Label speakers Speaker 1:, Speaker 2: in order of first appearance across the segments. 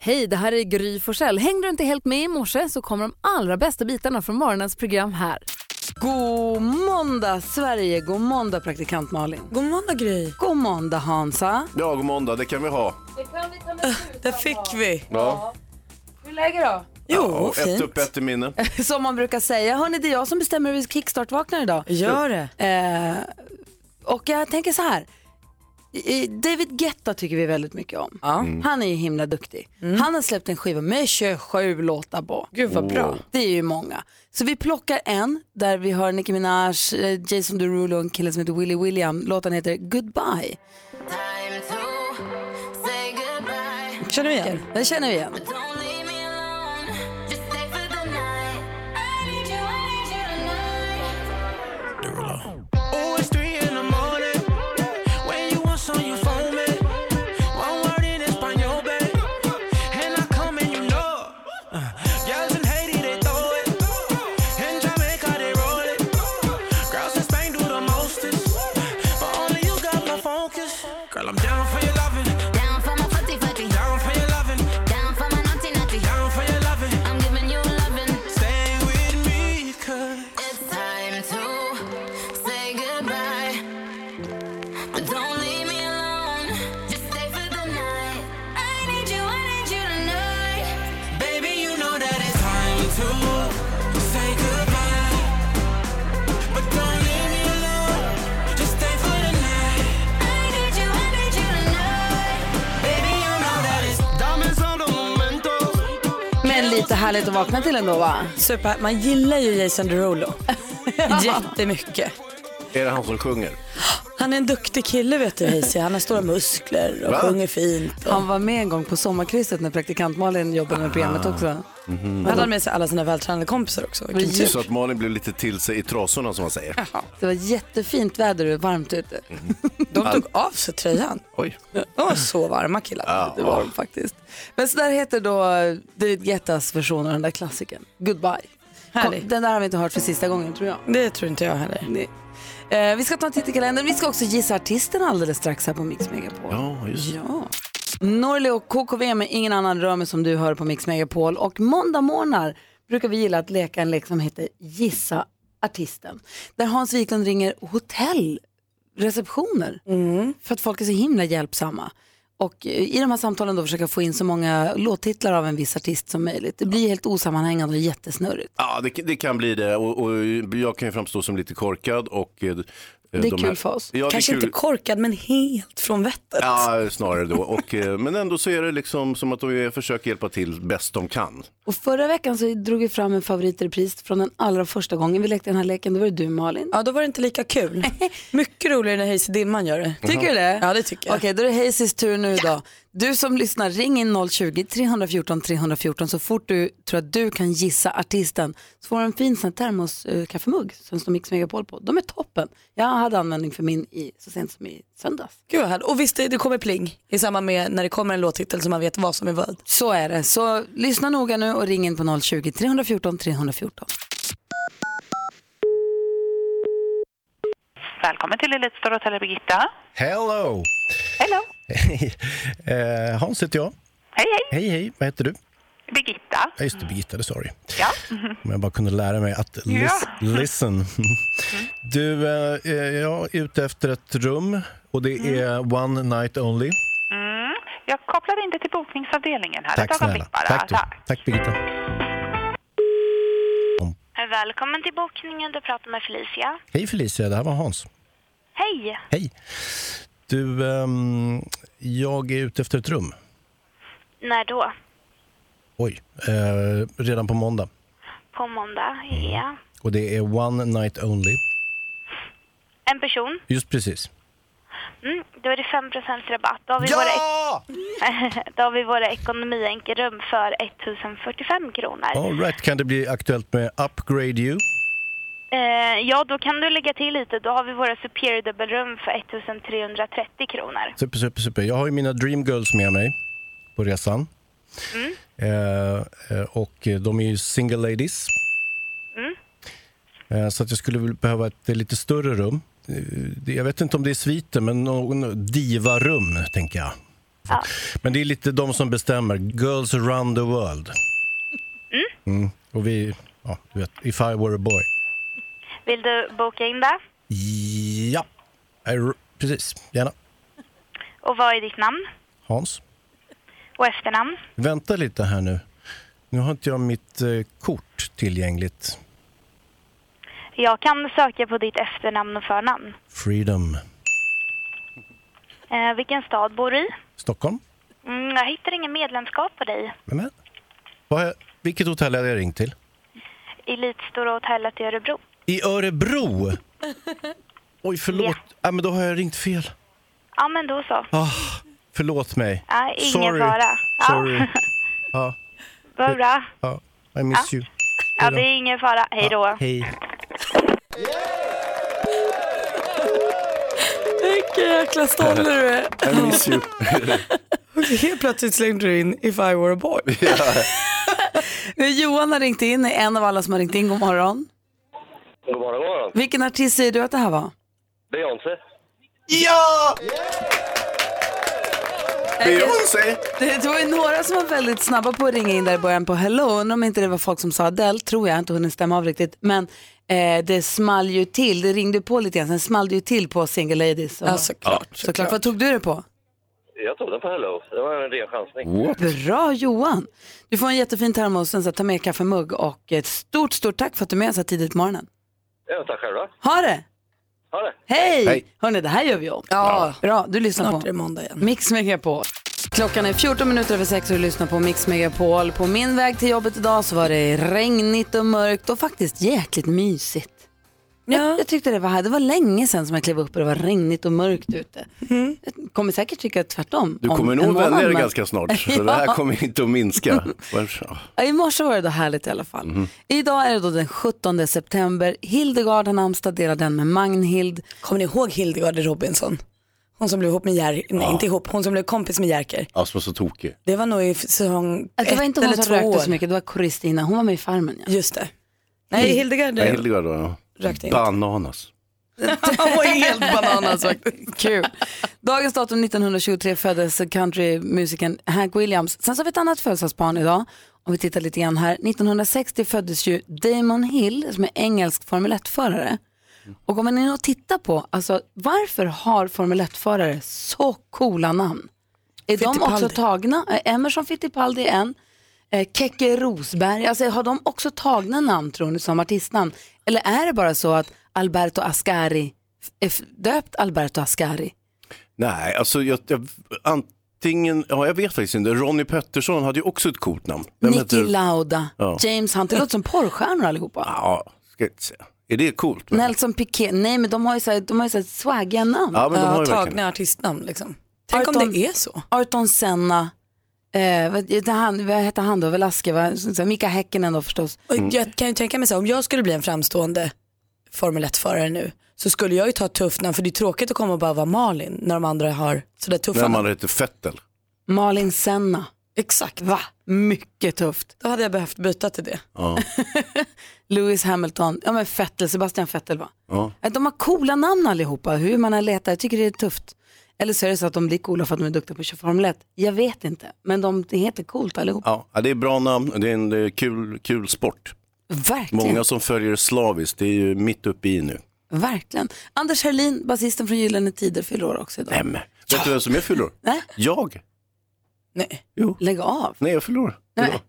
Speaker 1: Hej, det här är Gry Forssell. Hängde du inte helt med i morse så kommer de allra bästa bitarna från morgonens program här. God måndag Sverige, god måndag praktikant Malin.
Speaker 2: God måndag Gry.
Speaker 1: God måndag Hansa.
Speaker 3: Ja, god måndag, det kan vi ha.
Speaker 1: Det kan vi ta med
Speaker 2: Äh, Det fick vi.
Speaker 3: Ja.
Speaker 1: Hur läge då?
Speaker 2: Jo,
Speaker 3: Ja, ett
Speaker 2: fint.
Speaker 3: upp, ett i minne.
Speaker 1: Som man brukar säga. Hörni, det är jag som bestämmer hur vi kickstart-vaknar idag.
Speaker 2: Gör det.
Speaker 1: Eh, och jag tänker så här. I- David Guetta tycker vi väldigt mycket om. Han är ju himla duktig. Han har släppt en skiva med 27 låtar på.
Speaker 2: Mm. Gud vad bra.
Speaker 1: Det är ju många. Så vi plockar en där vi har Nicki Minaj, eh, Jason Derulo och en kille som heter Willie William. Låten heter Goodbye.
Speaker 2: Känner du igen?
Speaker 1: Den känner vi igen.
Speaker 4: Uh, Girl, I'm down for your loving,
Speaker 5: Down for my footy footy,
Speaker 4: down for your loving,
Speaker 5: down for my naughty naughty.
Speaker 4: down for your loving.
Speaker 5: I'm giving you lovin'.
Speaker 4: Stay with me, cause
Speaker 5: It's time to say goodbye. But don't leave me alone. Just stay for the night. I need you, I need you tonight.
Speaker 4: Baby, you know that it's time to say goodbye. But don't leave me alone. Just stay for the night.
Speaker 5: I need you, I need you tonight.
Speaker 4: Baby, you know that it's Dame solo momentos.
Speaker 1: Men lite härligt att vakna till ändå va?
Speaker 2: Super. Man gillar ju Jason Derulo jättemycket.
Speaker 3: Är det han som sjunger?
Speaker 2: Han är en duktig kille vet du Hayes. Han har stora muskler och
Speaker 3: Va?
Speaker 2: sjunger fint. Och...
Speaker 1: Han var med en gång på sommarkrysset när praktikant Malin jobbade med programmet också.
Speaker 6: Mm.
Speaker 2: Hade han med sig alla sina vältränade kompisar också? Mhm. Vilken tur.
Speaker 3: Så att Malin blev lite till sig i trasorna som man säger. Mhm.
Speaker 1: Det var jättefint väder och varmt ute.
Speaker 2: De tog av sig tröjan.
Speaker 3: Oj.
Speaker 2: De var så varma killar.
Speaker 1: Det var de faktiskt. Men så där heter då David Guettas version av den där klassikern. Goodbye.
Speaker 2: Härlig.
Speaker 1: Kom, den där har vi inte hört för sista gången tror jag.
Speaker 2: Det tror inte jag heller.
Speaker 1: Nej. Eh, vi ska ta en titt i kalendern. Vi ska också gissa artisten alldeles strax här på Mix Megapol.
Speaker 3: Ja, just det.
Speaker 1: Ja. Norli och KKV med Ingen annan rör mig som du hör på Mix Megapol. Och måndag morgnar brukar vi gilla att leka en lek som heter Gissa artisten. Där Hans Wiklund ringer hotellreceptioner för att folk är så himla hjälpsamma. Och eh, i de här samtalen då försöka få in så många låttitlar av en viss artist som möjligt. Det blir helt osammanhängande och jättesnurrigt.
Speaker 3: Ja, det, det kan bli det. Och, och jag kan ju framstå som lite korkad. Och, det
Speaker 1: är kul för oss.
Speaker 3: Ja,
Speaker 2: Kanske
Speaker 3: det är kul.
Speaker 2: inte korkad men helt från vettet.
Speaker 3: Ja, snarare då. Och, eh, men ändå så är det liksom som att de försöker hjälpa till bäst de kan.
Speaker 1: Och förra veckan så drog vi fram en favoritrepris från den allra första gången vi lekte den här leken. Då var det du Malin.
Speaker 2: Ja, då var det inte lika kul. Mycket roligare när Hayes i dimman gör det.
Speaker 1: Tycker du det?
Speaker 2: Ja, det tycker jag.
Speaker 1: Okej, då är det Hayes tur nu då. Du som lyssnar, ring in 020-314 314 så fort du tror att du kan gissa artisten så får du en fin sån här termoskaffemugg som står Mix Megapol på. De är toppen. Jag hade användning för min i, så sent som i söndags.
Speaker 2: Gud vad härligt. Och visst, det, det kommer pling i samband med när det kommer en låttitel så man vet vad som är vad.
Speaker 1: Så är det, så lyssna noga nu och ring in på 020-314 314.
Speaker 7: Välkommen till Elitstore Hotel Birgitta.
Speaker 6: Hello!
Speaker 7: Hello.
Speaker 6: Hej. Eh, Hans heter jag.
Speaker 7: Hej, hej.
Speaker 6: Hej, hej. Vad heter du?
Speaker 7: Birgitta.
Speaker 6: Ja, just det, Birgitta, det sa du.
Speaker 7: Ja.
Speaker 6: Om jag bara kunde lära mig att lis-
Speaker 7: Ja. Mm.
Speaker 6: listen. Du, eh, eh, jag är ute efter ett rum och det är one night only.
Speaker 7: Mm. Jag kopplar in dig till bokningsavdelningen här.
Speaker 6: Tack
Speaker 7: Ett ögonblick
Speaker 6: snälla.
Speaker 7: bara.
Speaker 6: Tack, du. Tack Birgitta.
Speaker 8: Välkommen till bokningen. Du pratar med Felicia.
Speaker 6: Hej Felicia, det här var Hans.
Speaker 8: Hej!
Speaker 6: Hej. Du, ehm, jag är ute efter ett rum.
Speaker 8: När då?
Speaker 6: Oj, eh, redan på måndag.
Speaker 8: På måndag? Ja.
Speaker 6: Och det är one night only.
Speaker 8: En person?
Speaker 6: Just precis.
Speaker 8: Mm, då är det 5 rabatt. Då har, vi våra, då har vi våra ekonomienkelrum för 1045 kronor.
Speaker 6: All right, kan det bli aktuellt med Upgrade You?
Speaker 8: Eh, ja, då kan du lägga till lite. Då har vi våra superior dubbelrum för 1330 kronor.
Speaker 6: Super, super, super. Jag har ju mina Dreamgirls med mig på resan. Eh, eh, och de är ju single ladies. Eh, så att jag skulle väl behöva ett eh, lite större rum. Eh, det- Jag vet inte om det är sviten, men någon divarum, tänker jag.
Speaker 4: För- Men det är lite de som bestämmer. Girls around the world. Mm. Och vi, ja, du vet, if I were a boy.
Speaker 8: Vill du boka in det?
Speaker 4: Ja, Eh, r- precis. Gärna.
Speaker 8: Och vad är ditt namn
Speaker 4: Hans.
Speaker 8: och efternamn?
Speaker 4: Vänta lite här nu. Nu har inte jag mitt eh, kort tillgängligt.
Speaker 8: Jag kan söka på ditt efternamn och förnamn.
Speaker 4: Freedom.
Speaker 8: Eh, vilken stad bor du i?
Speaker 4: Stockholm?
Speaker 8: Mm, jag hittar ingen medlemskap på dig.
Speaker 4: Vem är Vad är, vilket hotell hade jag ringt till?
Speaker 8: Elitstora hotellet i Örebro.
Speaker 4: I Örebro! Oj, förlåt. Ja, men då har jag ringt fel.
Speaker 8: Ja, men då så.
Speaker 4: Ah, förlåt mig.
Speaker 8: Ja, ingen
Speaker 4: Sorry.
Speaker 8: fara. Ja.
Speaker 4: Sorry. Ja,
Speaker 8: Vad bra.
Speaker 4: ja. I miss you.
Speaker 8: Ja, det är ingen fara. Hej då.
Speaker 4: Hej.
Speaker 2: Vilken jäkla stolle du är.
Speaker 6: I miss you.
Speaker 2: Helt plötsligt slängde du in If I were a boy.
Speaker 1: Eh, Johan har ringt in, är en av alla som har ringt in. God morgon.
Speaker 9: God morgon, god morgon.
Speaker 1: Vilken artist säger du att det här var?
Speaker 9: Beyoncé.
Speaker 6: Beyoncé!
Speaker 1: Eh, Det var ju några som var väldigt snabba på att ringa in där i början på Hello. Undrar om inte det var folk som sa Adele, tror jag, inte hunnit stämma av riktigt. Men eh, det small ju till, det ringde på lite grann, sen small det ju till på Single Ladies. Och,
Speaker 2: Ja, såklart.
Speaker 1: såklart. Vad tog du det på?
Speaker 9: Jag tog den på Hello. Det var en ren chansning.
Speaker 1: Bra Johan! Du får en jättefin termos, en sån här ta med kaffemugg och ett stort, stort tack för att du är med så här tidigt på morgonen.
Speaker 9: Ja, tack själva.
Speaker 1: Ha det!
Speaker 9: Ha det.
Speaker 1: Hej!
Speaker 6: Hej.
Speaker 1: Hörni, det här gör vi om.
Speaker 2: Ja,
Speaker 1: Bra, du lyssnar
Speaker 2: snart är det
Speaker 1: på
Speaker 2: måndag igen.
Speaker 1: Mix Megapol. Klockan är 14 minuter över 6 och du lyssnar på Mix Megapol. På min väg till jobbet idag så var det regnigt och mörkt och faktiskt jäkligt mysigt. Jag,
Speaker 2: Ja.
Speaker 1: jag tyckte det var här. Det var länge sedan som jag klev upp och det var regnigt och mörkt ute.
Speaker 2: Mm.
Speaker 1: Jag kommer säkert tycka tvärtom.
Speaker 6: Du
Speaker 1: om
Speaker 6: kommer
Speaker 1: en
Speaker 6: nog
Speaker 1: månad,
Speaker 6: vänja dig
Speaker 1: men-
Speaker 6: ganska snart. För det här kommer inte att minska. Vars- ja. Mhm.
Speaker 1: Ja, I morse var det då härligt i alla fall. Idag är det då den 17 september. Hildegard har namnsdag, delar den med Magnhild.
Speaker 2: Kommer ni ihåg Hildegard Robinson? Hon som blev ihop med Jerker, nej inte ihop, hon som blev kompis med Jerker.
Speaker 6: Ja, som var så tokig.
Speaker 2: Det var nog i säsong
Speaker 1: Alltså, det var
Speaker 2: ett
Speaker 1: inte
Speaker 2: eller
Speaker 1: hon som
Speaker 2: två år.
Speaker 1: rökte så mycket, det var Kristina. Hon var med i Farmen. Ja.
Speaker 2: Just det. Nej, Hildegard
Speaker 6: Nej, Hildegard då.
Speaker 2: rökte inte.
Speaker 6: Bananas.
Speaker 2: Hon var helt bananas faktiskt.
Speaker 1: Kul. Dagens datum 1923 föddes countrymusikern Hank Williams. Sen så har vi ett annat födelsedagsbarn idag. Om vi tittar lite grann här. 1960 föddes ju Damon Hill som är engelsk Formel 1-förare. Och om man är inne och tittar på, alltså varför har Formel 1-förare så coola namn? Är de också
Speaker 2: Fittipaldi.
Speaker 1: tagna? Eh, Emerson Fittipaldi är en. Eh, Keke Rosberg, alltså, har de också tagna namn tror ni som artistnamn? Eller är det bara så att Alberto Ascari är f- döpt Alberto Ascari?
Speaker 6: Nej, alltså jag, jag, antingen, ja jag vet faktiskt inte. Ronny Pettersson hade ju också ett coolt namn. Vem
Speaker 1: Niki
Speaker 6: heter-
Speaker 1: Lauda,
Speaker 6: Ja.
Speaker 1: James Hunt, det låter som porrstjärnor allihopa.
Speaker 6: Ja, ska jag inte säga. Är det
Speaker 2: Mm,
Speaker 6: coolt? Men-
Speaker 1: Nelson Piquet, nej men de har ju så här- de har ju så här swaggiga namn.
Speaker 6: Ja, men de har
Speaker 2: Ja,
Speaker 6: ju verkligen.
Speaker 2: tagna artistnamn liksom. Tänk om
Speaker 1: Arton.
Speaker 2: det är så.
Speaker 1: Arton Senna, eh, vad, heter han, vad hette han då, Velasquez, va? Så- så- Mika Häkkinen då förstås.
Speaker 2: Och
Speaker 6: Mm.
Speaker 2: Jag kan ju tänka mig så här, om jag skulle bli en framstående Formel 1-förare nu så skulle jag ju ta ett tufft namn för det är tråkigt att komma och bara vara Malin när de andra har sådär tuffa
Speaker 6: När
Speaker 2: namn.
Speaker 6: man heter Fettel.
Speaker 1: Malin Senna,
Speaker 2: Exakt.
Speaker 1: va? Mycket tufft.
Speaker 2: Då hade jag behövt byta till det.
Speaker 6: Ja.
Speaker 1: Lewis Hamilton, ja men Vettel, Sebastian Vettel va?
Speaker 6: Ja.
Speaker 1: Att De har coola namn allihopa, hur man än letar, jag tycker det är tufft. Eller så är det så att de blir coola för att de är duktiga på att köra Formel 1. Jag vet inte, men de det heter coolt allihopa.
Speaker 6: Ja, ja, det är bra namn och det är en eh, kul, kul sport.
Speaker 1: Verkligen.
Speaker 6: Många som följer slaviskt, det är ju mitt uppe i nu.
Speaker 1: Verkligen. Anders Herlin, basisten från Gyllene Tider, fyller år också idag.
Speaker 6: Nej, men. Vet du vem som jag fyller år?
Speaker 1: Nej.
Speaker 6: Jag?
Speaker 2: Nej.
Speaker 6: Jo.
Speaker 1: Lägg av.
Speaker 6: Nej, jag fyller år. idag.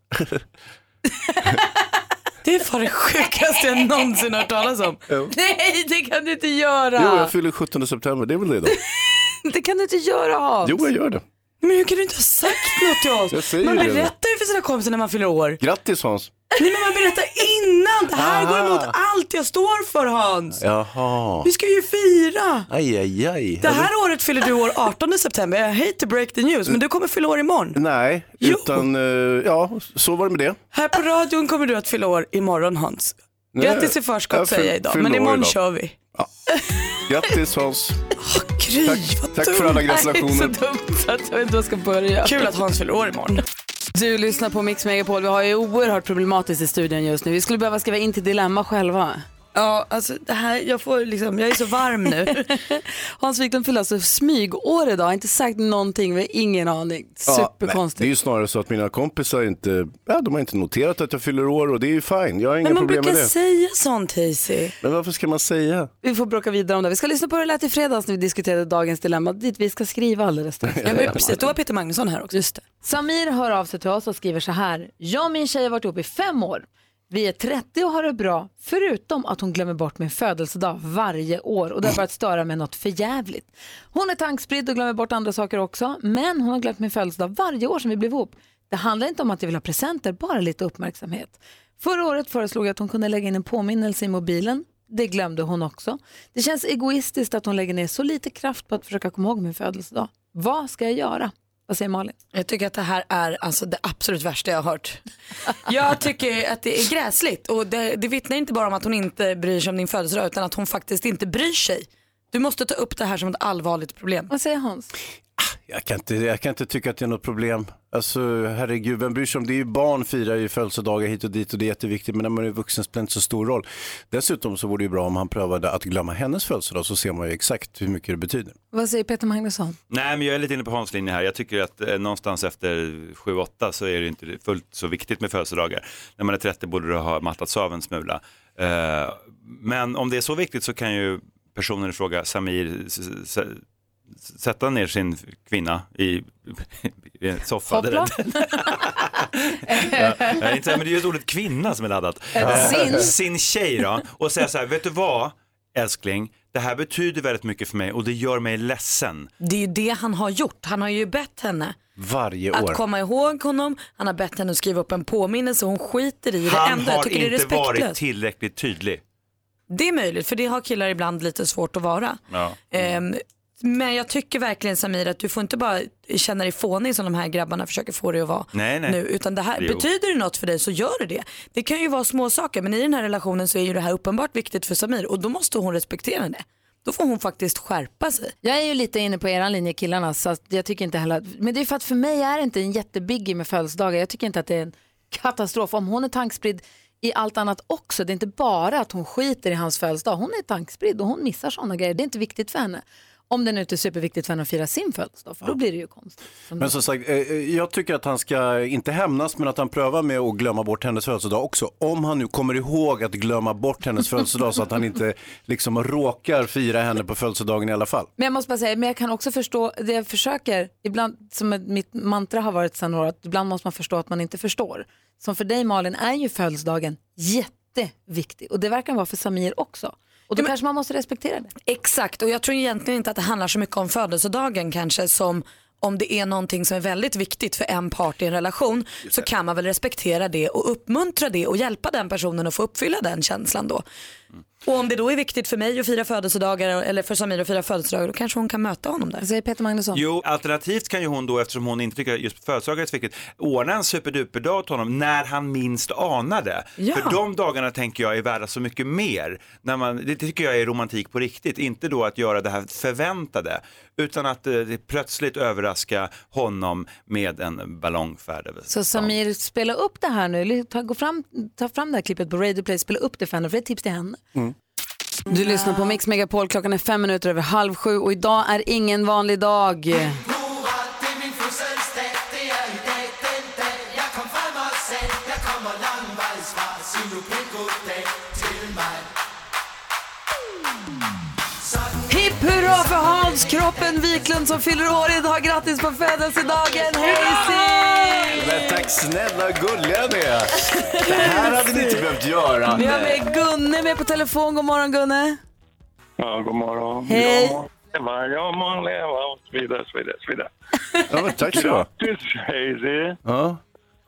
Speaker 2: Det är fan det sjukaste jag någonsin hört talas om.
Speaker 1: Nej, det kan du inte göra.
Speaker 6: Jo, jag fyller 17 september, det är väl det idag?
Speaker 1: Det kan du inte göra, Hans.
Speaker 6: Jo, jag gör det.
Speaker 2: Men hur kan du inte ha sagt något till
Speaker 6: Jag
Speaker 2: oss?
Speaker 6: säger
Speaker 2: Man
Speaker 6: det.
Speaker 2: berättar ju för sina kompisar när man fyller år.
Speaker 6: Grattis Hans!
Speaker 2: Nej men man berättar innan. Det här
Speaker 6: Aha.
Speaker 2: går emot allt jag står för Hans.
Speaker 6: Jaha.
Speaker 2: Vi ska ju fira.
Speaker 6: Aj, aj, aj.
Speaker 2: Det här året fyller du år 18 september. Jag hate to break the news men du kommer fylla år imorgon.
Speaker 6: Nej,
Speaker 2: Jo.
Speaker 6: utan eh, ja, så var det med det.
Speaker 2: Här på radion kommer du att fylla år imorgon Hans. Grattis i förskott
Speaker 6: jag
Speaker 2: säger jag
Speaker 6: fyll-
Speaker 2: idag
Speaker 6: fyller
Speaker 2: men
Speaker 6: år
Speaker 2: imorgon
Speaker 6: idag.
Speaker 2: kör vi.
Speaker 6: Grattis Hans!
Speaker 2: Gry vad
Speaker 6: Tack för alla
Speaker 2: dumt.
Speaker 1: Det är så
Speaker 6: gratulationer.
Speaker 1: dumt så att jag vet inte var jag ska börja.
Speaker 2: Kul att Hans fyller år imorgon.
Speaker 1: Du lyssnar på Mix Megapol. Vi har ju oerhört problematiskt i studion just nu. Vi skulle behöva skriva in till Dilemma själva.
Speaker 2: Ja, alltså det här, jag får liksom, jag är så varm nu.
Speaker 10: Hans Wiklund fyller alltså smygår idag, har inte sagt någonting, vi har ingen aning.
Speaker 6: Det är
Speaker 10: Superkonstigt.
Speaker 6: ju snarare så att mina kompisar inte, ja, de har inte noterat att jag fyller år och det är ju fine. Jag har inga
Speaker 2: Men man
Speaker 6: problem med
Speaker 2: brukar
Speaker 6: det.
Speaker 2: säga sånt Hazy.
Speaker 6: Men varför ska man säga?
Speaker 10: Vi får bråka vidare om det. Vi ska lyssna på hur det lät i fredags när vi diskuterade dagens dilemma, dit vi ska skriva alldeles strax.
Speaker 2: Ja, men precis, då var Peter Magnusson här också. Just det.
Speaker 1: Samir hör av sig till oss och skriver så här. Jag och min tjej har varit ihop i fem år. Vi är 30 och har det bra, förutom att hon glömmer bort min födelsedag varje år och det har börjat störa mig något förjävligt. Hon är tankspridd och glömmer bort andra saker också, men hon har glömt min födelsedag varje år sedan vi blev ihop. Det handlar inte om att jag vill ha presenter, bara lite uppmärksamhet. Förra året föreslog jag att hon kunde lägga in en påminnelse i mobilen. Det glömde hon också. Det känns egoistiskt att hon lägger ner så lite kraft på att försöka komma ihåg min födelsedag. Vad ska jag göra? Vad säger Malin?
Speaker 2: Jag tycker att det här är alltså det absolut värsta jag har hört. Jag tycker att det är gräsligt och det, det vittnar inte bara om att hon inte bryr sig om din födelsedag utan att hon faktiskt inte bryr sig. Du måste ta upp det här som ett allvarligt problem.
Speaker 1: Vad säger Hans?
Speaker 6: Jag kan, inte, jag kan inte tycka att det är något problem. Alltså herregud, vem bryr sig om det? är ju barn firar ju födelsedagar hit och dit och det är jätteviktigt. Men när man är vuxen spelar det inte så stor roll. Dessutom så vore det ju bra om han prövade att glömma hennes födelsedag så ser man ju exakt hur mycket det betyder.
Speaker 10: Vad säger Peter Magnusson?
Speaker 11: Nej, men jag är lite inne på Hans linje här. Jag tycker att eh, någonstans efter 7-8 så är det inte fullt så viktigt med födelsedagar. När man är 30 borde det ha mattats av en smula. Eh, men om det är så viktigt så kan ju personen i fråga, Samir, s- s- s- sätta ner sin kvinna i, i en soffa. där- Ja, jag är inte, säker, men det är ju ordet kvinna som är laddat. Eh,
Speaker 4: sin.
Speaker 11: sin tjej då. Och säga så här, vet du vad älskling, det här betyder väldigt mycket för mig och det gör mig ledsen.
Speaker 2: Det är ju det han har gjort. Han har ju bett henne
Speaker 11: Varje
Speaker 2: att komma ihåg honom. Han har bett henne att skriva upp en påminnelse och hon skiter i det
Speaker 11: Han
Speaker 2: ändå. Jag
Speaker 11: har
Speaker 2: tycker det är
Speaker 11: inte varit
Speaker 2: respektlöst.
Speaker 11: tillräckligt tydlig.
Speaker 2: Det är möjligt för det har killar ibland lite svårt att vara.
Speaker 11: Ja.
Speaker 2: Ehm, men jag tycker verkligen Samir att du får inte bara känna dig fånig som de här grabbarna försöker få dig att vara
Speaker 11: Nej, nej.
Speaker 2: nu. Utan det här,
Speaker 11: Jo.
Speaker 2: betyder det något för dig så gör det det. Det kan ju vara små saker men i den här relationen så är ju det här uppenbart viktigt för Samir och då måste hon respektera det. Då får hon faktiskt skärpa sig.
Speaker 1: Jag är ju lite inne på eran linje killarna så att jag tycker inte heller att, men det är för att för mig är det inte en jättebiggie med födelsedagar. Jag tycker inte att det är en katastrof om hon är tankspridd i allt annat också. Det är inte bara att hon skiter i hans födelsedag. Hon är tankspridd och hon missar sådana grejer. Det är inte viktigt för henne. Om det nu inte är superviktigt för henne att fira sin födelsedag för då blir det ju konstigt.
Speaker 6: Men som sagt, eh, eh, jag tycker att han ska inte hämnas men att han prövar med att glömma bort hennes födelsedag också. Om han nu kommer ihåg att glömma bort hennes födelsedag så att han inte liksom råkar fira henne på födelsedagen i alla fall.
Speaker 1: Men jag måste bara säga, men jag kan också förstå, det jag försöker, ibland, som ett- mitt mantra har varit sedan några år, att ibland måste man förstå att man inte förstår. Som för dig Malin är ju födelsedagen jätteviktig och det verkar vara för Samir också. Och då kanske man måste respektera det.
Speaker 2: Exakt och jag tror egentligen inte att det handlar så mycket om födelsedagen kanske som om det är någonting som är väldigt viktigt för en part i en relation så kan man väl respektera det och uppmuntra det och hjälpa den personen att få uppfylla den känslan då.
Speaker 6: Mm.
Speaker 2: Och om det då är viktigt för mig att fira födelsedagar eller för Samir att fira födelsedagar då kanske hon kan möta honom där.
Speaker 1: Säger Peter Magnusson.
Speaker 11: Jo, alternativt kan ju hon då, eftersom hon inte tycker att just födelsedagar är så viktigt, ordna en superduperdag åt honom när han minst anar det.
Speaker 4: Ja.
Speaker 11: För de dagarna tänker jag är värda så mycket mer. När man, det tycker jag är romantik på riktigt, inte då att göra det här förväntade, utan att eh, plötsligt överraska honom med en ballongfärd. över
Speaker 1: Så Samir, spela upp det här nu, Eller ta, gå fram, ta fram det här klippet på Radio Play, spela upp det för henne, för det är ett tips till henne.
Speaker 10: Du lyssnar på Mix Megapol, klockan är fem minuter över halv sju och idag är ingen vanlig dag. Hipp hurra för Hans Kroppen Wiklund som fyller år idag. Grattis på födelsedagen, Hayes!
Speaker 6: Men tack snälla gulliga ni är. Det här hade ni inte behövt göra.
Speaker 10: Vi har med Gunne med på telefon. God morgon Gunne.
Speaker 9: Ja, god morgon.
Speaker 10: Hej.
Speaker 9: Ja, leva, ja, man leva och så vidare, så vidare, så vidare.
Speaker 6: Ja, men tack så.
Speaker 9: Grattis, Hazy.
Speaker 6: Ja,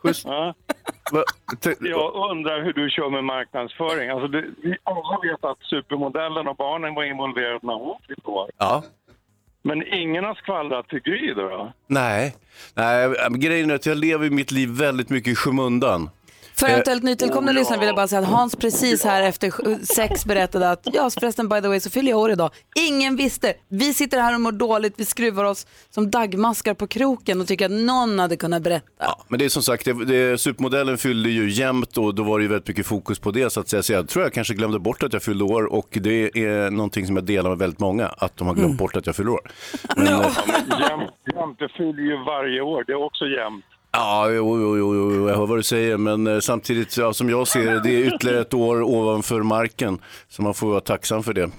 Speaker 6: schysst.
Speaker 9: Ja. Jag undrar hur du kör med marknadsföring. Alltså, du, vi alla vet att supermodellen och barnen var involverade när hon fick år.
Speaker 6: Ja.
Speaker 9: Men ingen har skvallrat till Gry då? då?
Speaker 6: Nej. Nej, men grejen är att jag lever mitt liv väldigt mycket i skymundan.
Speaker 1: För eventuellt nytillkomna lyssnare vill jag bara säga att Hans precis här efter sju- sex berättade att ja, förresten by the way så fyller jag år idag. Ingen visste. Vi sitter här och mår dåligt, vi skruvar oss som dagmaskar på kroken och tycker att någon hade kunnat berätta.
Speaker 6: Men det är som sagt, det, det, supermodellen fyllde ju jämnt och då var det ju väldigt mycket fokus på det så att säga. Så jag tror jag kanske glömde bort att jag fyllde år och det är någonting som jag delar med väldigt många, att de har glömt
Speaker 9: Mm.
Speaker 6: bort att jag fyller år. Men, eh,
Speaker 9: Jämt, jämt, det fyller ju varje år, det är också jämnt.
Speaker 6: Ja, jo, jo, jo, jo, jag hör vad du säger, men eh, samtidigt ja, som jag ser det, det är ytterligare ett år ovanför marken, så man får vara tacksam för det.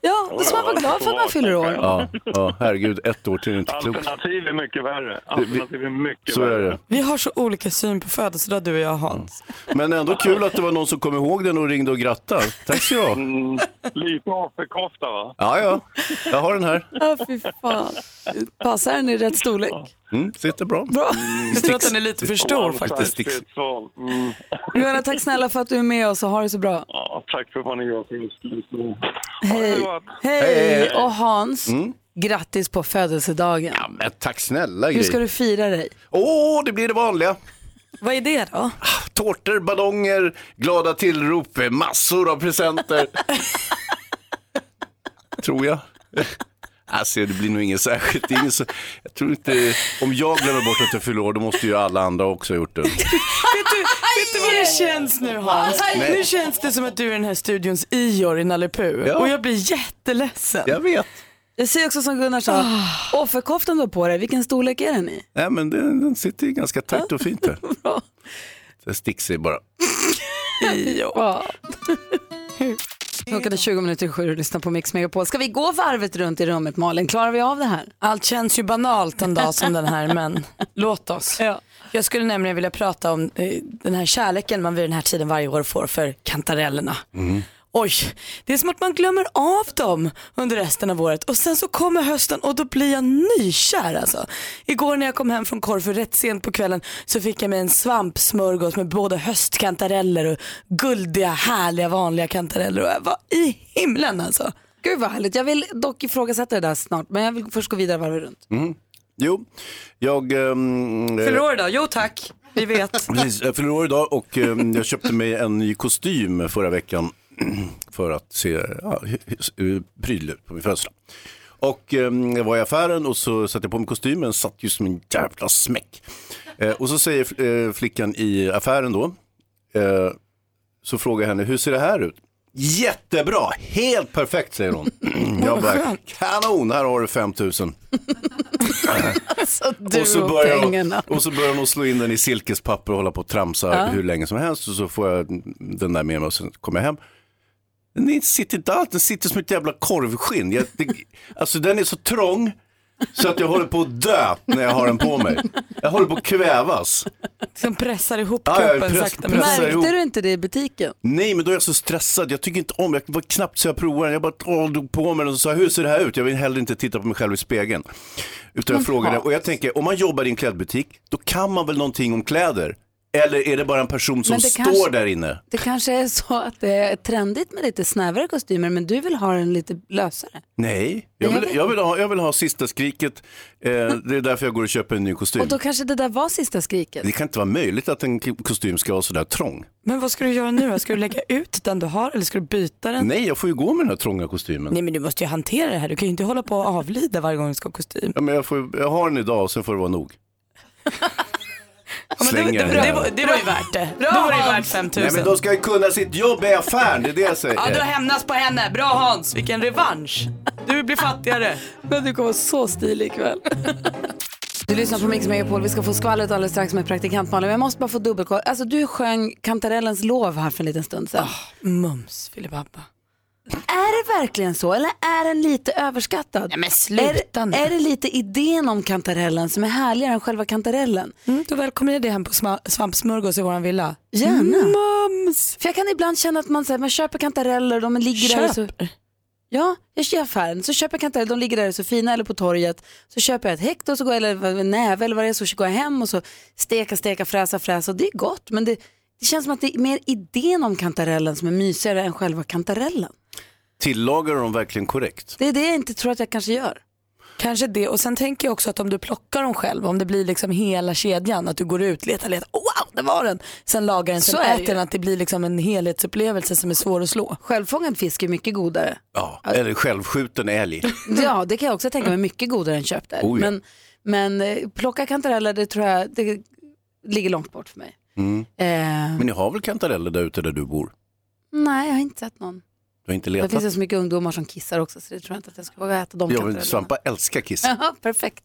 Speaker 1: Ja, då ska man vara glad för att man fyller år.
Speaker 6: Ja, ja herregud, ett år till är inte klokt.
Speaker 9: Alternativ är mycket värre. Alternativ är alltså, mycket
Speaker 6: Så är
Speaker 9: värre.
Speaker 6: det.
Speaker 12: Vi har så olika syn på födelsedag du och jag Hans.
Speaker 6: Men ändå kul att det var någon som kom ihåg den och ringde och grattade. Tack ska du ha.
Speaker 9: Lite offerkofta va?
Speaker 6: Ja, ja, jag har den här.
Speaker 1: Ja, fy fan. Passar den i rätt storlek?
Speaker 6: Mm, sitter bra. Mm.
Speaker 1: Bra.
Speaker 12: Jag tror att den är lite för stor faktiskt.
Speaker 9: Mm.
Speaker 1: Johanna, tack snälla för att du är med oss och ha det så bra.
Speaker 9: Ja, tack för vad ni gör för just nu.
Speaker 1: Hej. Hej.
Speaker 6: Hej.
Speaker 1: Och Hans,
Speaker 6: Mm.
Speaker 1: grattis på födelsedagen.
Speaker 6: Men tack snälla
Speaker 1: Hur
Speaker 6: Gry.
Speaker 1: ska du fira dig?
Speaker 6: Åh, det blir det vanliga.
Speaker 12: Vad är det då?
Speaker 6: Tårtor, ballonger, glada tillrop, massor av presenter. tror jag. Alltså det blir nog inget särskilt. Det är ingen så... Jag tror inte, om jag glömmer bort att jag fyller år, då måste ju alla andra också ha gjort det.
Speaker 2: Vet du, vet du vad det känns nu Hans?
Speaker 6: Nej.
Speaker 2: Nu känns det som att du är den här studions Ior i Nalle Puh.
Speaker 6: Ja.
Speaker 2: Och jag blir jätteledsen. Ah.
Speaker 6: Jag vet.
Speaker 1: Jag säger också som Gunnar sa, offerkoftan du har på dig, vilken storlek är den i?
Speaker 6: Nej men den, den sitter ju ganska tätt och fint där. Den sticks sig bara.
Speaker 1: Ja. Klockan är 20 minuter i sju och lyssnar på Mix Megapol. Ska vi gå varvet runt i rummet Malin? Klarar vi av det här?
Speaker 2: Allt känns ju banalt en dag som den här men låt oss. Jag skulle nämligen vilja prata om eh, den här kärleken man vid den här tiden varje år får för kantarellerna. Oj, det är som att man glömmer av dem under resten av året och sen så kommer hösten och då blir jag nykär alltså. Igår när jag kom hem från Korfu rätt sent på kvällen så fick jag mig en svampsmörgås med både höstkantareller och guldiga härliga vanliga kantareller och jag var i himlen alltså.
Speaker 1: Gud vad härligt. Jag vill dock ifrågasätta det där snart, men jag vill först gå vidare varvet runt.
Speaker 6: Mm. Jo, jag... ehm, eh,
Speaker 12: Fyller år idag? Jo tack, vi vet.
Speaker 6: Precis, jag fyller år idag och eh, jag köpte mig en ny kostym förra veckan för att se ja, hy- hy- prydlig ut på min födelsedag. Och eh, jag var i affären och så satte jag på mig kostymen, satt ju som en jävla smäck. Eh, och så säger eh, flickan i affären då, eh, så frågar jag henne, hur ser det här ut? Jättebra, helt perfekt säger hon. Jag bara, kanon, här har du 5000.
Speaker 1: Alltså,
Speaker 4: du
Speaker 6: och, så börjar hon,
Speaker 1: pengarna.
Speaker 6: och så börjar hon slå in den i silkespapper och hålla på och tramsa
Speaker 1: Ja.
Speaker 6: hur länge som helst. Och så får jag den där med mig och sen kommer jag hem. Den sitter inte alls, den sitter som ett jävla korvskinn. Jag, det, alltså den är så trång så att jag håller på att dö när jag har den på mig. Jag håller på att kvävas.
Speaker 2: Som pressar ihop
Speaker 6: Ja, jag
Speaker 2: kroppen
Speaker 6: press-
Speaker 2: sakta men
Speaker 6: pressar ihop.
Speaker 1: Märkte du inte det i butiken?
Speaker 6: Nej, men då är jag så stressad. Jag tycker inte om, jag var knappt så jag provade den. Jag bara åh, drog på mig den och sa, hur ser det här ut? Jag vill hellre inte titta på mig själv i spegeln. Utan
Speaker 9: Men
Speaker 6: jag frågade,
Speaker 9: Hans.
Speaker 6: och jag tänker, om man jobbar i en klädbutik, då kan man väl någonting om kläder? Eller är det bara en person som
Speaker 1: Men det
Speaker 6: står
Speaker 1: kanske-
Speaker 6: där inne?
Speaker 1: Det kanske är så att det är trendigt med lite snävare kostymer, men du vill ha den lite lösare.
Speaker 6: Nej, jag vill, jag vill, ha, jag vill ha sista skriket. Eh, det är därför jag går och köper en ny kostym.
Speaker 1: Och då kanske det där var sista skriket.
Speaker 6: Det kan inte vara möjligt att en k- kostym ska vara sådär trång.
Speaker 2: Men vad ska du göra nu då? Ska du lägga ut den du har eller ska du byta den?
Speaker 6: Nej, jag får ju gå med den här trånga kostymen.
Speaker 2: Nej men du måste ju hantera det här. Du kan ju inte hålla på och avlida varje gång du ska ha kostym.
Speaker 6: Ja, men jag, får, jag har den idag och sen får det vara nog. Slänger den
Speaker 2: Det
Speaker 6: här.
Speaker 2: var, det var ju värt det. Då var det ju värt 5 000.
Speaker 6: Nej men de ska ju kunna sitt jobb i affären, det är det jag säger.
Speaker 2: Ja, du har hämnats på henne. Bra Hans, vilken revansch. Du blir fattigare.
Speaker 1: Men du kommer vara så stilig ikväll. Du lyssnar på Mix Megapol, vi ska få skvallret alldeles strax med praktikant Malin. Men jag måste bara få dubbelkolla. Alltså du sjöng Kantarellens lov här för en liten stund sedan.
Speaker 2: Ah. Mums filibabba.
Speaker 1: Är det verkligen så eller är den lite överskattad? Nej, men
Speaker 2: sluta
Speaker 1: är,
Speaker 2: nu.
Speaker 1: är det lite idén om kantarellen som är härligare än själva kantarellen?
Speaker 2: Mm, då välkomnar jag dig hem på sma- svampsmörgås i våran villa. Mm.
Speaker 1: Gärna.
Speaker 2: Mums!
Speaker 1: För jag kan ibland känna att man, så här, man köper kantareller, de ligger där. och Så, ja, jag kör i affären, så köper jag kantareller, de ligger där och är så fina, eller på torget. Så köper jag ett häkt och så går jag, eller en näve eller vad det är, så går jag hem och så steka, steka, fräsa, fräsa. Och det är gott, men det, det känns som att det är mer idén om kantarellen som är mysigare än själva kantarellen.
Speaker 6: Tillagar de verkligen korrekt?
Speaker 1: Det är det jag inte tror att jag kanske gör.
Speaker 2: Kanske det och sen tänker jag också att om du plockar dem själv, om det blir liksom hela kedjan, att du går ut, letar, letar, oh, wow, där var den. Sen lagar den,
Speaker 1: Så
Speaker 2: sen
Speaker 1: är det
Speaker 2: äter den, att det blir liksom en helhetsupplevelse som är svår att slå.
Speaker 1: Självfångad fisk är mycket godare.
Speaker 6: Ja, eller självskjuten älg.
Speaker 1: Ja, det kan jag också tänka mig. Mycket godare än köpt älg.
Speaker 6: Mm. Oh ja.
Speaker 1: Men, men eh, plocka kantareller, det tror jag det ligger långt bort för mig.
Speaker 6: Mm.
Speaker 1: Eh,
Speaker 6: Men ni har väl kantareller där ute där du bor?
Speaker 1: nej, jag har inte sett någon.
Speaker 6: Du har inte
Speaker 1: Det
Speaker 6: letat?
Speaker 1: finns ju så mycket ungdomar som kissar också så det tror jag inte att jag ska våga äta de
Speaker 6: jag vill
Speaker 1: kantarellerna.
Speaker 6: svampa älskar kiss.
Speaker 1: Ja, perfekt.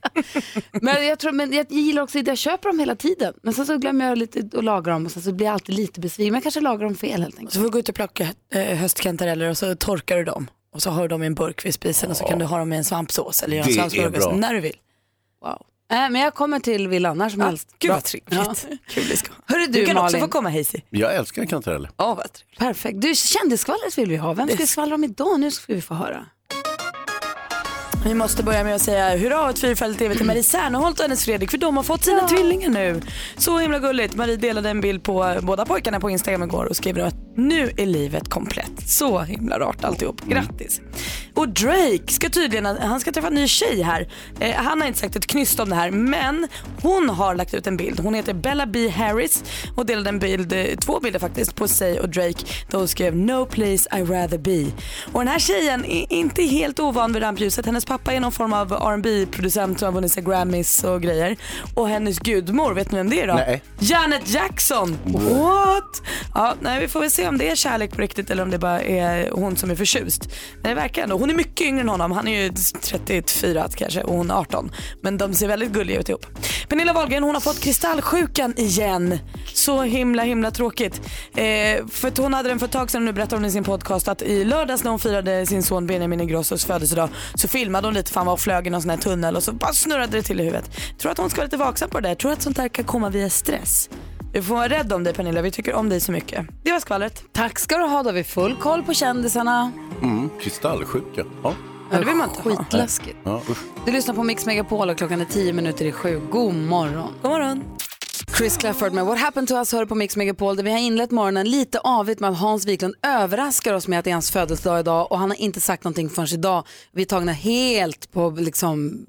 Speaker 1: men, jag tror, men jag gillar också, jag köper dem hela tiden. Men sen så glömmer jag lite att laga dem och sen så blir jag alltid lite besviken. Men jag kanske lagar dem fel helt enkelt.
Speaker 2: Så får du gå ut och plocka eh, höstkantareller och så torkar du dem och så har du dem i en burk vid spisen och så kan du ha dem i en svampsås eller göra en
Speaker 1: Det är
Speaker 2: svampsmörgås
Speaker 1: bra.
Speaker 2: när du vill.
Speaker 1: Wow. Äh, men jag kommer till villan när som helst.
Speaker 2: Gud
Speaker 1: Bra.
Speaker 2: vad trevligt. Kul det ska
Speaker 1: Hörru du,
Speaker 2: Du kan också
Speaker 1: Malin.
Speaker 2: få komma Hazy.
Speaker 6: Jag älskar kantareller.
Speaker 2: Ja, vad trevligt.
Speaker 1: Perfekt. Du, kändisskvallret vill vi ha. Vem ska
Speaker 2: Det-
Speaker 1: skvallra om idag? Nu ska vi få höra.
Speaker 2: Vi måste börja med att säga hurra åt fyrfaldigt TV till Marie Serneholt och hennes Fredrik för de har fått sina tvillingar nu. Så himla gulligt. Marie delade en bild på eh, båda pojkarna på Instagram igår och skrev då att nu är livet komplett. Så himla rart alltihop. Grattis. Och Drake ska tydligen, han ska träffa en ny tjej här. Eh, han har inte sagt ett knyst om det här men hon har lagt ut en bild. Hon heter Bella B Harris och delade en bild, eh, två bilder faktiskt, på sig och Drake där hon skrev No place I rather be. Och den här tjejen är inte helt ovan vid rampljuset. Hennes pappa är någon form av rb producent som har vunnit sig Grammys och grejer. Och hennes gudmor, vet ni vem det är då?
Speaker 13: Nej.
Speaker 2: Janet Jackson! What? Ja, nej, vi får väl se om det är kärlek på riktigt eller om det bara är hon som är förtjust. Men det verkar ändå. Hon är mycket yngre än honom. Han är ju 34 kanske och hon är 18. Men de ser väldigt gulliga ut ihop. Pernilla Wahlgren hon har fått kristallsjukan igen. Så himla himla tråkigt. Eh, för att hon hade den för ett tag sedan och nu berättar hon i sin podcast att i lördags när hon firade sin son Benjamin Ingrossos födelsedag så filmade hon lite för han var och flög i någon sån här tunnel och så bara snurrade det till i huvudet. Tror att hon ska vara lite vaksam på det där. Tror att sånt där kan komma via stress. Du får vara rädd om dig Pernilla, vi tycker om dig så mycket. Det var skvallret.
Speaker 1: Tack ska du ha, då har vi full koll på kändisarna.
Speaker 6: Mm, kristallsjuka. Ja.
Speaker 1: Ja, det vill man inte Skitläskigt.
Speaker 6: Ja, usch.
Speaker 1: Du lyssnar på Mix Megapol och klockan är 10 minuter i sju. God morgon.
Speaker 2: God morgon.
Speaker 1: Chris Clafford med What Happened To Us hör på Mix Megapol där vi har inlett morgonen lite avigt med att Hans Wiklund överraskar oss med att det är hans födelsedag idag och han har inte sagt någonting förrän idag. Vi är tagna helt på liksom,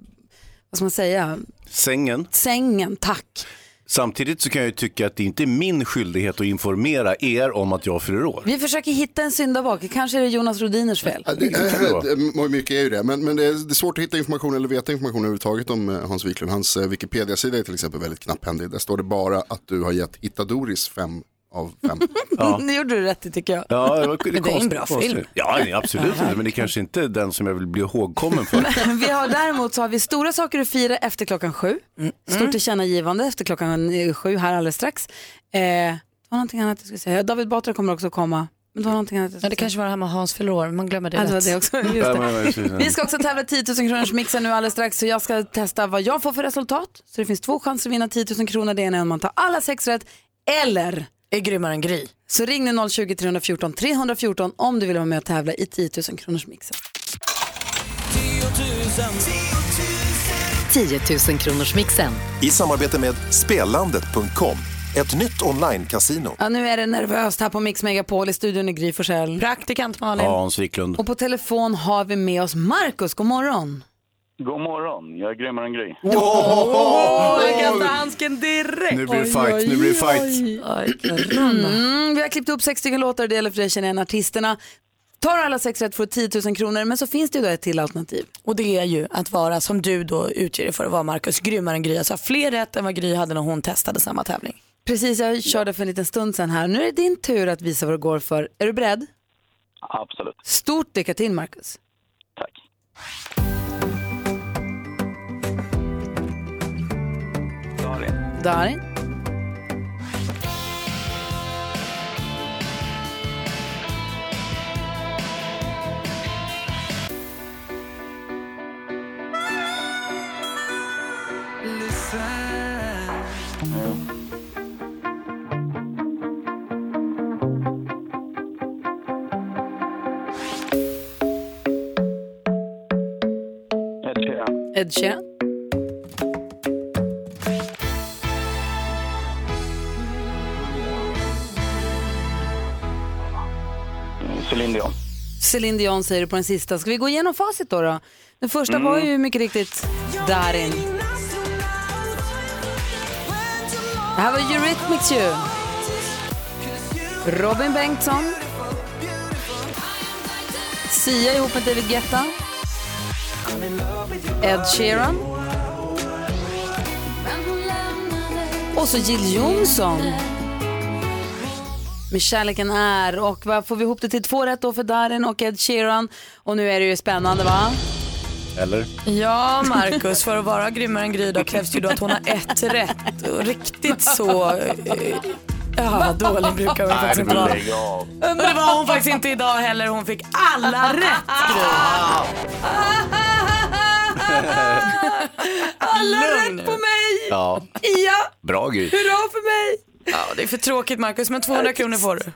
Speaker 1: vad ska man säga,
Speaker 6: Sängen.
Speaker 1: sängen, tack.
Speaker 6: Samtidigt så kan jag ju tycka att det inte är min skyldighet att informera er om att jag fyller år.
Speaker 1: Vi försöker hitta en syndabock, kanske är det Jonas Rodiners fel.
Speaker 14: Ja, det- eh, Mycket är ju det, men, men det, är, det är svårt att hitta information eller veta information överhuvudtaget om eh, Hans Wiklund. Hans eh, Wikipedia-sida är till exempel väldigt knapphändig. Där står det bara att du har gett Hitta Doris fem av fem.
Speaker 1: Nu gjorde du rätt i tycker jag.
Speaker 6: Ja, det,
Speaker 1: Men
Speaker 6: var,
Speaker 1: det är en
Speaker 6: konstigt-
Speaker 1: bra
Speaker 6: konstigt.
Speaker 1: film.
Speaker 6: Ja, nej, absolut inte, men det kanske inte är den som jag vill bli ihågkommen för.
Speaker 1: Vi har däremot så har vi stora saker att fira efter klockan sju.
Speaker 2: Mm.
Speaker 1: Stort tillkännagivande efter klockan eh, sju här alldeles strax. Eh, det var någonting annat jag skulle säga. David Batra kommer också komma. Men det var någonting annat jag
Speaker 2: Ja,
Speaker 1: skulle
Speaker 2: det
Speaker 1: säga.
Speaker 2: kanske var det här med Hans fyller år, man glömmer det
Speaker 1: Ja, det var
Speaker 2: lätt.
Speaker 1: det också.
Speaker 6: Ja, men-
Speaker 1: Just det.
Speaker 6: men-
Speaker 1: Vi ska också tävla 10 000 kronors mixen nu alldeles strax så jag ska testa vad jag får för resultat. Så det finns två chanser att vinna 10 000 kronor. Det ena är om man tar alla sex rätt eller
Speaker 2: är grymmare än Gry.
Speaker 1: Så ring nu 020 314 314 om du vill vara med och tävla i 10 000 kronors mixen.
Speaker 9: 10 000 kronors mixen. I samarbete med spelandet.com, ett nytt online-casino.
Speaker 1: Ja, nu är det nervöst här på Mix Megapol. I studion är Gry Forssell.
Speaker 2: Praktikant Malin.
Speaker 6: Ja, Hans Wiklund.
Speaker 1: Och på telefon har vi med oss Markus. God morgon.
Speaker 4: God morgon, jag är grymmare än Gry.
Speaker 2: jag kastar handsken direkt.
Speaker 4: Nu blir det fight, nu blir det fight.
Speaker 1: Mm, vi har klippt upp sex stycken låtar och det gäller för dig att känna igen artisterna. Tar alla sex rätt får du 10 000 kronor men så finns det ju då ett till alternativ.
Speaker 2: Och det är ju att vara, som du då utger dig för att vara Marcus, grymmare än Gry. Alltså fler rätt än vad Gry hade när hon testade samma tävling.
Speaker 1: Precis, jag körde för en liten stund sedan här. Nu är det din tur att visa vad det går för. Är du beredd?
Speaker 4: Absolut.
Speaker 1: Stort lycka till Marcus.
Speaker 4: Darin,
Speaker 1: Darin.
Speaker 4: Ed Sheeran,
Speaker 1: Ed Sheeran.
Speaker 4: Céline Dion.
Speaker 1: Céline Dion säger det på den sista. Ska vi gå igenom facit då? då? Den första var ju mycket riktigt Darin. Det här var Eurythmics ju. Robin Bengtsson. Sia ihop med David Guetta. Ed Sheeran. Och så Jill Johnson. Med kärleken är och vad får vi ihop det till två rätt då för Darin och Ed Sheeran. Och nu är det ju spännande va?
Speaker 6: Eller?
Speaker 2: Ja, Markus, för att vara grymmare än Gry då krävs ju då att hon har ett rätt. Och Riktigt så... eh, Ja, dålig brukar hon faktiskt inte vara.
Speaker 4: av.
Speaker 2: Men det var hon faktiskt inte idag heller. Hon fick alla rätt, Gry.
Speaker 4: Ah.
Speaker 1: Alla rätt på mig!
Speaker 6: Ja.
Speaker 1: Ja!
Speaker 6: Bra Gry.
Speaker 1: Hurra för mig!
Speaker 2: Ja, det är för tråkigt, Markus, men 200 kronor får du.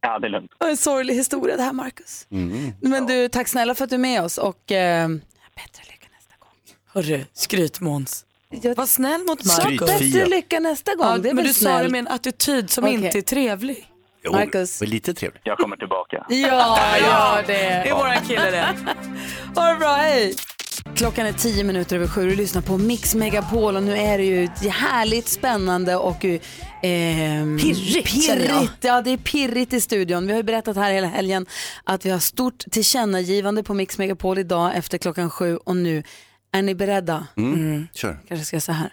Speaker 15: Ja, det är lugnt.
Speaker 1: Och en sorglig historia det här Marcus.
Speaker 15: Mm.
Speaker 1: Men du, tack snälla för att du är med oss och eh,
Speaker 2: Hörru, skrytmåns. Var snäll mot
Speaker 1: så
Speaker 2: Markus.
Speaker 1: bättre lycka nästa gång.
Speaker 2: Ja,
Speaker 1: det är
Speaker 2: men
Speaker 1: väl
Speaker 2: du sa det
Speaker 1: snällt.
Speaker 2: med en attityd som
Speaker 1: Okej. Eh,
Speaker 2: inte är trevlig.
Speaker 1: Jo, Marcus.
Speaker 6: lite trevlig.
Speaker 15: Jag kommer tillbaka.
Speaker 1: Ja, gör det.
Speaker 2: Det är våran kille det.
Speaker 1: Ha det bra, hej! Klockan är tio minuter över sju och du lyssnar på Mix Megapol och nu är det ju ett härligt spännande och eh, ehm,
Speaker 2: Pirrigt, känner jag.
Speaker 1: pirrigt. Ja, det är pirrigt i studion. Vi har ju berättat här hela helgen att vi har stort tillkännagivande på Mix Megapol idag efter klockan sju och nu är ni beredda?
Speaker 6: Mm. Kör.
Speaker 1: Kanske ska jag så här.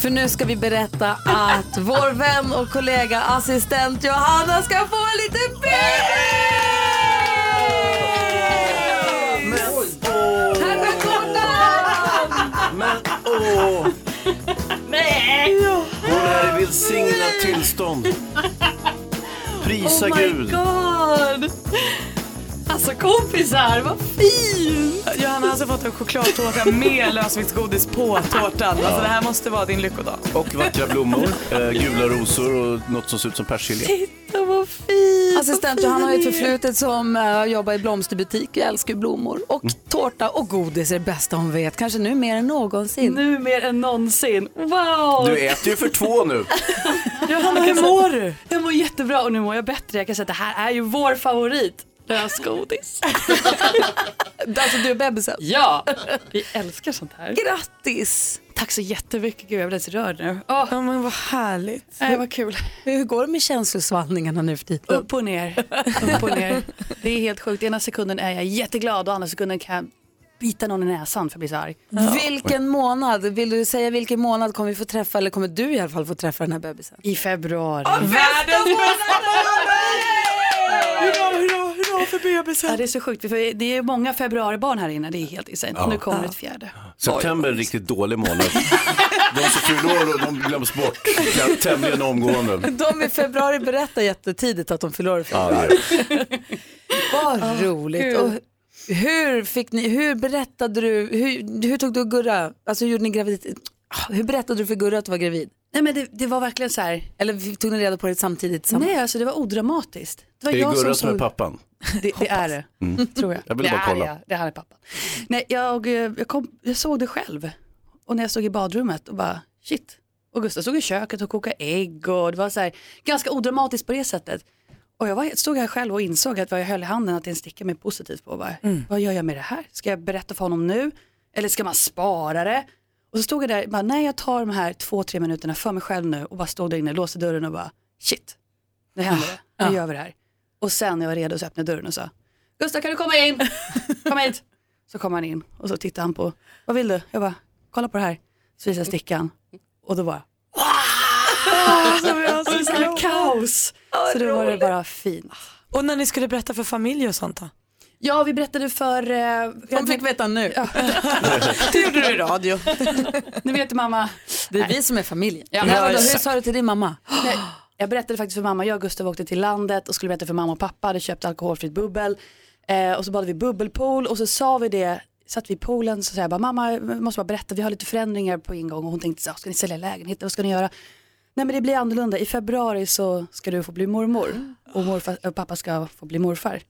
Speaker 1: För nu ska vi berätta att vår vän och kollega assistent Johanna ska få en liten bebis! Här går tårtan!
Speaker 6: Men åh!
Speaker 1: Nej!
Speaker 6: Hon är i välsignat tillstånd. Prisa
Speaker 1: oh my
Speaker 6: Gud.
Speaker 1: God. Alltså kompisar, vad fint!
Speaker 2: Johanna har alltså fått en chokladtårta med lösviktsgodis på tårtan. Alltså
Speaker 6: Ja.
Speaker 2: det här måste vara din lyckodag.
Speaker 6: Och vackra blommor, eh, gula rosor och något som ser ut som persilja.
Speaker 1: Titta vad fint! Assistent Johanna har ju ett förflutet som eh, jobbar i blomsterbutik. Jag älskar ju blommor. Och tårta och godis är det bästa hon vet. Kanske nu mer än någonsin.
Speaker 7: Nu mer än någonsin. Wow!
Speaker 6: Du äter ju för två nu.
Speaker 7: Johanna,
Speaker 2: hur mår du?
Speaker 7: Jag mår jättebra och nu mår jag bättre. Jag kan säga att det här är ju vår favorit. Lösgodis.
Speaker 1: alltså du är bebisen?
Speaker 7: Ja, vi älskar sånt här.
Speaker 1: Grattis!
Speaker 7: Tack så jättemycket. Gud, jag blir så rörd nu.
Speaker 2: Ja, men vad härligt.
Speaker 7: Nej, vad kul.
Speaker 1: Hur går det med känslosvallningarna nu för tiden?
Speaker 7: Upp och ner, upp och ner. Det är helt sjukt. Ena sekunden är jag jätteglad och andra sekunden kan jag bita någon i näsan för att bli så arg.
Speaker 1: Vilken månad? Vill du säga vilken månad kommer vi få träffa, eller kommer du i alla fall få träffa den här bebisen? Ah,
Speaker 7: I februari.
Speaker 1: Världens
Speaker 2: Hurra, hurra, hurra för bebisen.
Speaker 7: Ja, det är så sjukt. För det är många februaribarn här inne. Det är helt insane.
Speaker 6: Ja.
Speaker 7: Nu kommer
Speaker 6: Ja.
Speaker 7: ett fjärde.
Speaker 6: September är en riktigt dålig månad. De som fyller år, de glöms bort tämligen omgående.
Speaker 1: De i februari berättar jättetidigt att de fyller år i
Speaker 6: Ja, det
Speaker 1: februari.
Speaker 6: är det.
Speaker 1: Vad
Speaker 7: Ah,
Speaker 1: roligt.
Speaker 7: kul.
Speaker 1: Och hur fick ni, hur berättade du, hur, hur tog du och Gurra, alltså hur gjorde ni graviditet, Ah, hur berättade du för Gurra att du var gravid?
Speaker 7: Nej men det, det var verkligen så här.
Speaker 1: Eller tog ni reda på det samtidigt?
Speaker 7: Nej, alltså det var odramatiskt. Det var
Speaker 6: Det är
Speaker 7: jag
Speaker 6: Gurra
Speaker 7: som
Speaker 6: som är pappan.
Speaker 7: Det, det är det,
Speaker 6: Mm.
Speaker 7: tror jag.
Speaker 6: Jag ville
Speaker 7: det
Speaker 6: bara
Speaker 7: är
Speaker 6: kolla.
Speaker 7: jag. Det här är pappan. Nej, jag, eh, jag, kom, jag såg det själv. Och när jag stod i badrummet och bara, shit. Och Gustav stod i köket och kokade ägg och det var så här, ganska odramatiskt på det sättet. Och jag var, stod här själv och insåg att vad jag höll i handen, att det är en sticka med positivt på. Och Bara, Vad gör jag med det här? Ska jag berätta för honom nu? Eller ska man spara det? Och så stod jag där, bara, nej jag tar de här två, tre minuterna för mig själv nu och bara stod där inne, låste dörren och bara, shit, nu händer det, nu gör vi det här. Och sen när jag var redo så öppnade jag dörren och sa, Gustav kan du komma in? Kom hit. Så kom han in och så tittade han på, vad vill du? Jag bara, kolla på det här. Så visade jag stickan och då bara,
Speaker 2: Alltså, vi har så
Speaker 7: Det skulle
Speaker 2: roligt.
Speaker 7: kaos. Så då var det bara fint.
Speaker 2: Och när ni skulle berätta för familj och sånt då?
Speaker 7: Ja, vi berättade för... Eh,
Speaker 1: De fick veta nu.
Speaker 2: Det gjorde du i radio.
Speaker 7: nu vet du mamma.
Speaker 1: Det är vi som är familjen.
Speaker 7: Ja,
Speaker 1: Nej, vadå, hur
Speaker 7: exakt.
Speaker 1: sa du till din mamma?
Speaker 7: Nej, jag berättade faktiskt för mamma, jag och Gustav åkte till landet och skulle berätta för mamma och pappa, hade köpt alkoholfritt bubbel. Eh, och så bad vi bubbelpool och så sa vi det, satt vi i poolen så sa jag bara, mamma jag måste bara berätta, vi har lite förändringar på ingång och hon tänkte så här, ska ni sälja lägenheten, vad ska ni göra? Nej men det blir annorlunda, i februari så ska du få bli mormor och morfar, och pappa ska få bli morfar.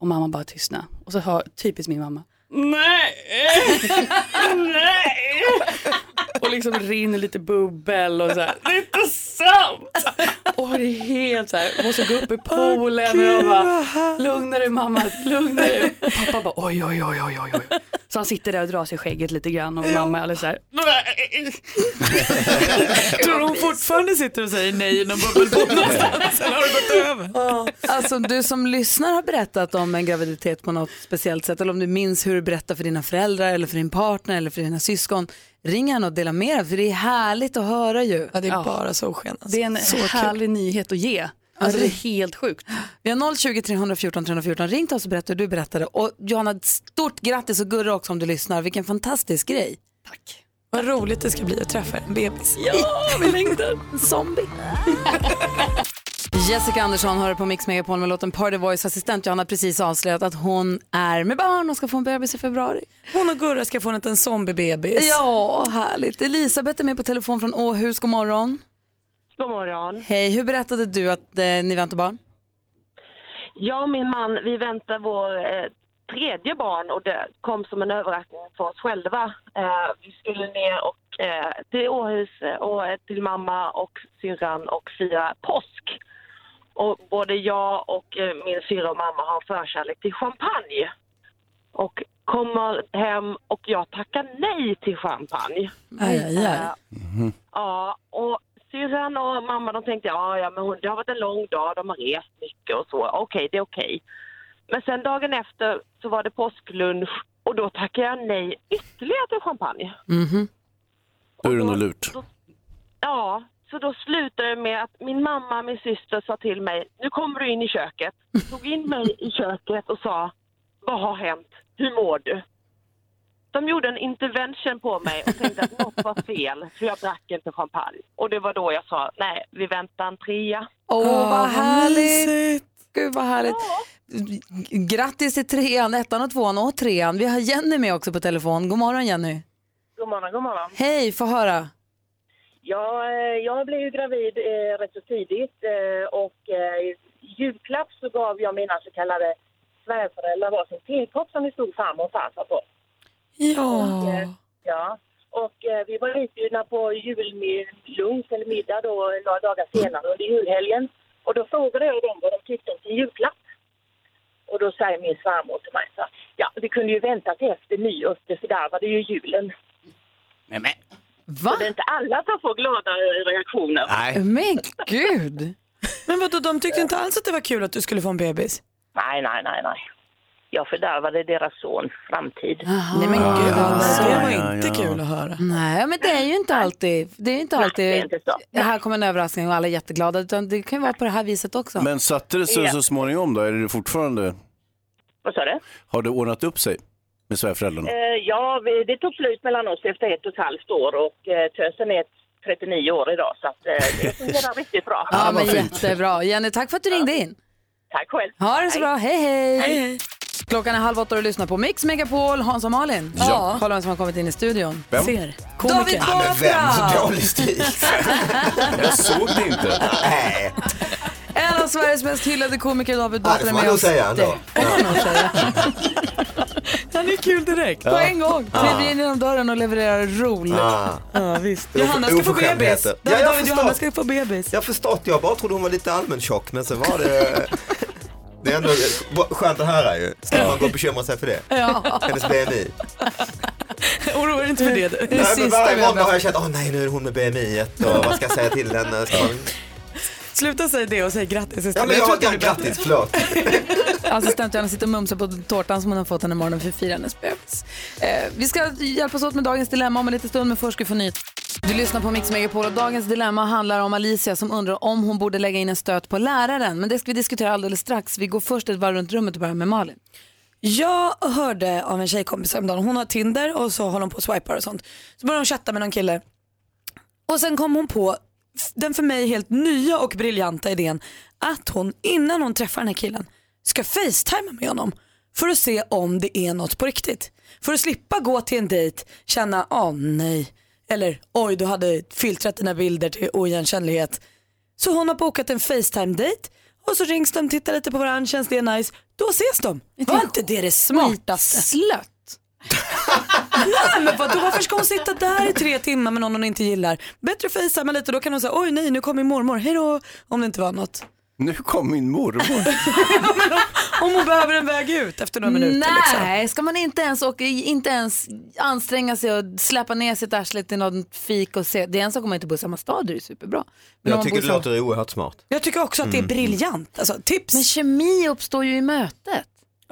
Speaker 7: Och mamma bara tystna. Och så hör, typiskt min mamma,
Speaker 4: Nej! Nej!
Speaker 7: och liksom rinner lite bubbel och så här. Det är inte sant! Och det är helt så här, måste gå upp i poolen och bara, lugna dig mamma, lugna dig. Och pappa bara, oj, oj, oj, oj, oj, oj. Så han sitter där och drar sig i skägget lite grann och mamma är alldeles så här,
Speaker 16: Tror hon fortfarande sitter och säger nej i någon bubbelpool någonstans? Eller har det gått över?
Speaker 1: Alltså om du som lyssnar har berättat om en graviditet på något speciellt sätt eller om du minns hur du berättar för dina föräldrar eller för din partner eller för dina syskon. Ring gärna och dela med dig för det är härligt att höra ju.
Speaker 2: det är bara solsken. Alltså.
Speaker 17: Det är en
Speaker 1: Så kul.
Speaker 17: härlig nyhet att ge. Alltså det är helt sjukt.
Speaker 1: Vi har 020 314 314. Ring till oss och berätta hur du berättade. Och Johanna, stort grattis och Gurra också om du lyssnar. Vilken fantastisk grej.
Speaker 2: Vad roligt det ska bli att träffa en bebis.
Speaker 1: vi längtar. En zombie. Jessica Andersson har på Mix Megapol med låten Party Voice. Assistent Johanna har precis avslöjat att hon är med barn och ska få en bebis i februari.
Speaker 2: Hon och Gurra ska få en liten zombiebebis.
Speaker 1: Ja, härligt. Elisabeth är med på telefon från Åhus. God morgon.
Speaker 18: God morgon.
Speaker 1: Hej, hur berättade du att eh, ni väntar barn?
Speaker 18: Jag och min man, vi väntar vår eh, tredje barn och det kom som en överraskning för oss själva. Eh, vi skulle ner och, eh, till Åhus eh, och eh, till mamma och syrran och fira påsk. Och både jag och eh, min syrra och mamma har förkärlek till champagne. Och kommer hem och jag tackar nej till champagne. Eh, Ja, och syrran och mamma de tänkte ja, ja men hon, det har varit en lång dag, de har rest mycket och så. Okej, det är okej. Men sen dagen efter så var det påsklunch och då tackade jag nej ytterligare till champagne.
Speaker 6: Mm-hmm. Då är det nog lurt.
Speaker 18: Ja, så då slutade det med att min mamma och min syster sa till mig, nu kommer du in i köket. Tog in mig i köket och sa, vad har hänt? Hur mår du? De gjorde en intervention på mig och tänkte att något var fel, för jag drack inte champagne. Och det var då jag sa, nej, vi väntar en trea.
Speaker 1: Åh, vad härligt! Gud, vad härligt. G- Grattis till trean, ettan och tvåan och trean. Vi har Jenny med också på telefon. God morgon Jenny.
Speaker 19: God morgon, god morgon.
Speaker 1: Hej, få höra.
Speaker 19: Jag, eh, jag blev ju gravid eh, rätt så tidigt eh, och eh, i julklapp så gav jag mina så kallade svärföräldrar varsin tekopp som det stod farmor och farfar på. Och, eh, ja. Och eh, vi var utbjudna på jullunch eller middag då några dagar senare under julhelgen. Och då frågade jag dem vad de tyckte om sin julklapp. Och då säger min svärmor till mig så här, ja vi kunde ju vänta till efter nyår för där var det ju julen.
Speaker 1: Nej, men. Va?
Speaker 19: Så det är inte alla som får glada eh, reaktioner.
Speaker 1: Men gud!
Speaker 2: Men vadå, de tyckte inte alls att det var kul att du skulle få en bebis?
Speaker 19: Nej, nej, nej, nej. Jag fördärvade deras sons framtid.
Speaker 1: Nej men gud,
Speaker 2: alltså.
Speaker 1: det var
Speaker 2: inte kul att höra.
Speaker 1: Nej, men det är ju inte alltid. Det är ju inte
Speaker 2: Nej,
Speaker 1: alltid.
Speaker 2: det är inte så.
Speaker 1: "Det här kommer en överraskning och alla är jätteglada. Utan det kan ju vara på det här viset också.
Speaker 6: Men satte det sig
Speaker 1: Ja.
Speaker 6: så småningom då? Är det fortfarande?
Speaker 19: Vad sa du?
Speaker 6: Har det ordnat upp sig med svärföräldrarna?
Speaker 19: Eh, ja, vi, det tog slut mellan oss efter ett och ett halvt år och eh, tösen är 39 år idag så att, eh, det fungerar riktigt bra.
Speaker 1: Ja, men jättebra. Jenny, tack för att du ringde in.
Speaker 19: Tack själv.
Speaker 1: Ha det så bra. Hej, hej. Klockan är halv åtta och du lyssnar på Mix Megapol, Hans och Malin.
Speaker 2: Ja.
Speaker 1: Kolla vem som har kommit in i studion.
Speaker 2: Vem?
Speaker 1: Ser.
Speaker 2: Komiker.
Speaker 1: David
Speaker 2: Ja, men vem?
Speaker 1: Batra!
Speaker 2: Dålig stil.
Speaker 16: Jag såg det inte. Nej.
Speaker 1: En av Sveriges mest hyllade komiker, David Batra,
Speaker 16: det får
Speaker 1: är
Speaker 16: man
Speaker 1: med
Speaker 16: nog
Speaker 1: oss.
Speaker 16: säga ändå.
Speaker 1: Det får man nog säga. Han är kul direkt. På
Speaker 16: Ja.
Speaker 1: en gång.
Speaker 16: Ja.
Speaker 1: Kliver in genom dörren och levererar roligt.
Speaker 16: Ja.
Speaker 1: Ja, visst.
Speaker 2: Johanna ska få bebis.
Speaker 16: Oförskämdheter.
Speaker 2: David,
Speaker 16: jag
Speaker 2: David,
Speaker 16: förstår.
Speaker 2: Johanna ska få bebis.
Speaker 16: Jag förstått, jag bara trodde hon var lite allmän tjock men så var det... Det är ändå skönt att höra ju. Ska man gå och bekymra sig för det?
Speaker 2: Ja.
Speaker 16: Hennes BMI.
Speaker 2: Oroa dig inte för det du.
Speaker 16: Nej, men varje måndag har jag känt, åh nej nu är hon med BMI och vad ska jag säga till henne? Ska man...
Speaker 2: Sluta säga det och säg grattis istället.
Speaker 16: Ja men
Speaker 2: tror
Speaker 16: jag,
Speaker 2: att det
Speaker 16: jag,
Speaker 2: blir bättre.
Speaker 16: grattis, förlåt.
Speaker 1: Assistent Johanna sitter och mumsar på tårtan som hon har fått den i morgon för att fira hennes bebis. Eh, vi ska hjälpas åt med dagens dilemma om en liten stund, men först ska vi få nytt. Du lyssnar på Mix Megapol och dagens dilemma handlar om Alicia som undrar om hon borde lägga in en stöt på läraren. Men det ska vi diskutera alldeles strax. Vi går först ett varv runt rummet och börjar med Malin.
Speaker 2: Jag hörde av en tjejkompis häromdagen, hon har Tinder och så håller hon på och swipar och sånt. Så började hon chatta med någon kille. Och sen kom hon på f- den för mig helt nya och briljanta idén att hon innan hon träffar den här killen ska facetimea med honom för att se om det är något på riktigt. För att slippa gå till en dejt, känna åh nej, eller oj du hade filtrat dina bilder till oigenkännlighet. Så hon har bokat en facetime-dejt och så rings de, tittar lite på varandra, känns det nice, då ses de. Var inte det det smartaste?
Speaker 1: Slött.
Speaker 2: Nej, men vadå, varför ska hon sitta där i tre timmar med någon hon inte gillar? Bättre fejsa med lite, då kan hon säga oj nej nu kommer min mormor, hejdå, om det inte var något.
Speaker 6: Nu kom min mormor.
Speaker 2: Om hon behöver en väg ut efter några minuter. Liksom.
Speaker 1: Nej, ska man inte ens, åka, inte ens anstränga sig och släppa ner sitt arsle till någon fik och se. Det är en sak om man inte bor i samma stad, det är ju superbra. Men om
Speaker 16: Jag
Speaker 1: man
Speaker 16: tycker
Speaker 1: bor
Speaker 16: det
Speaker 1: i samma-
Speaker 16: låter oerhört smart.
Speaker 2: Jag tycker också att det är
Speaker 16: Mm.
Speaker 2: briljant. Alltså, tips.
Speaker 1: Men kemi uppstår ju i mötet.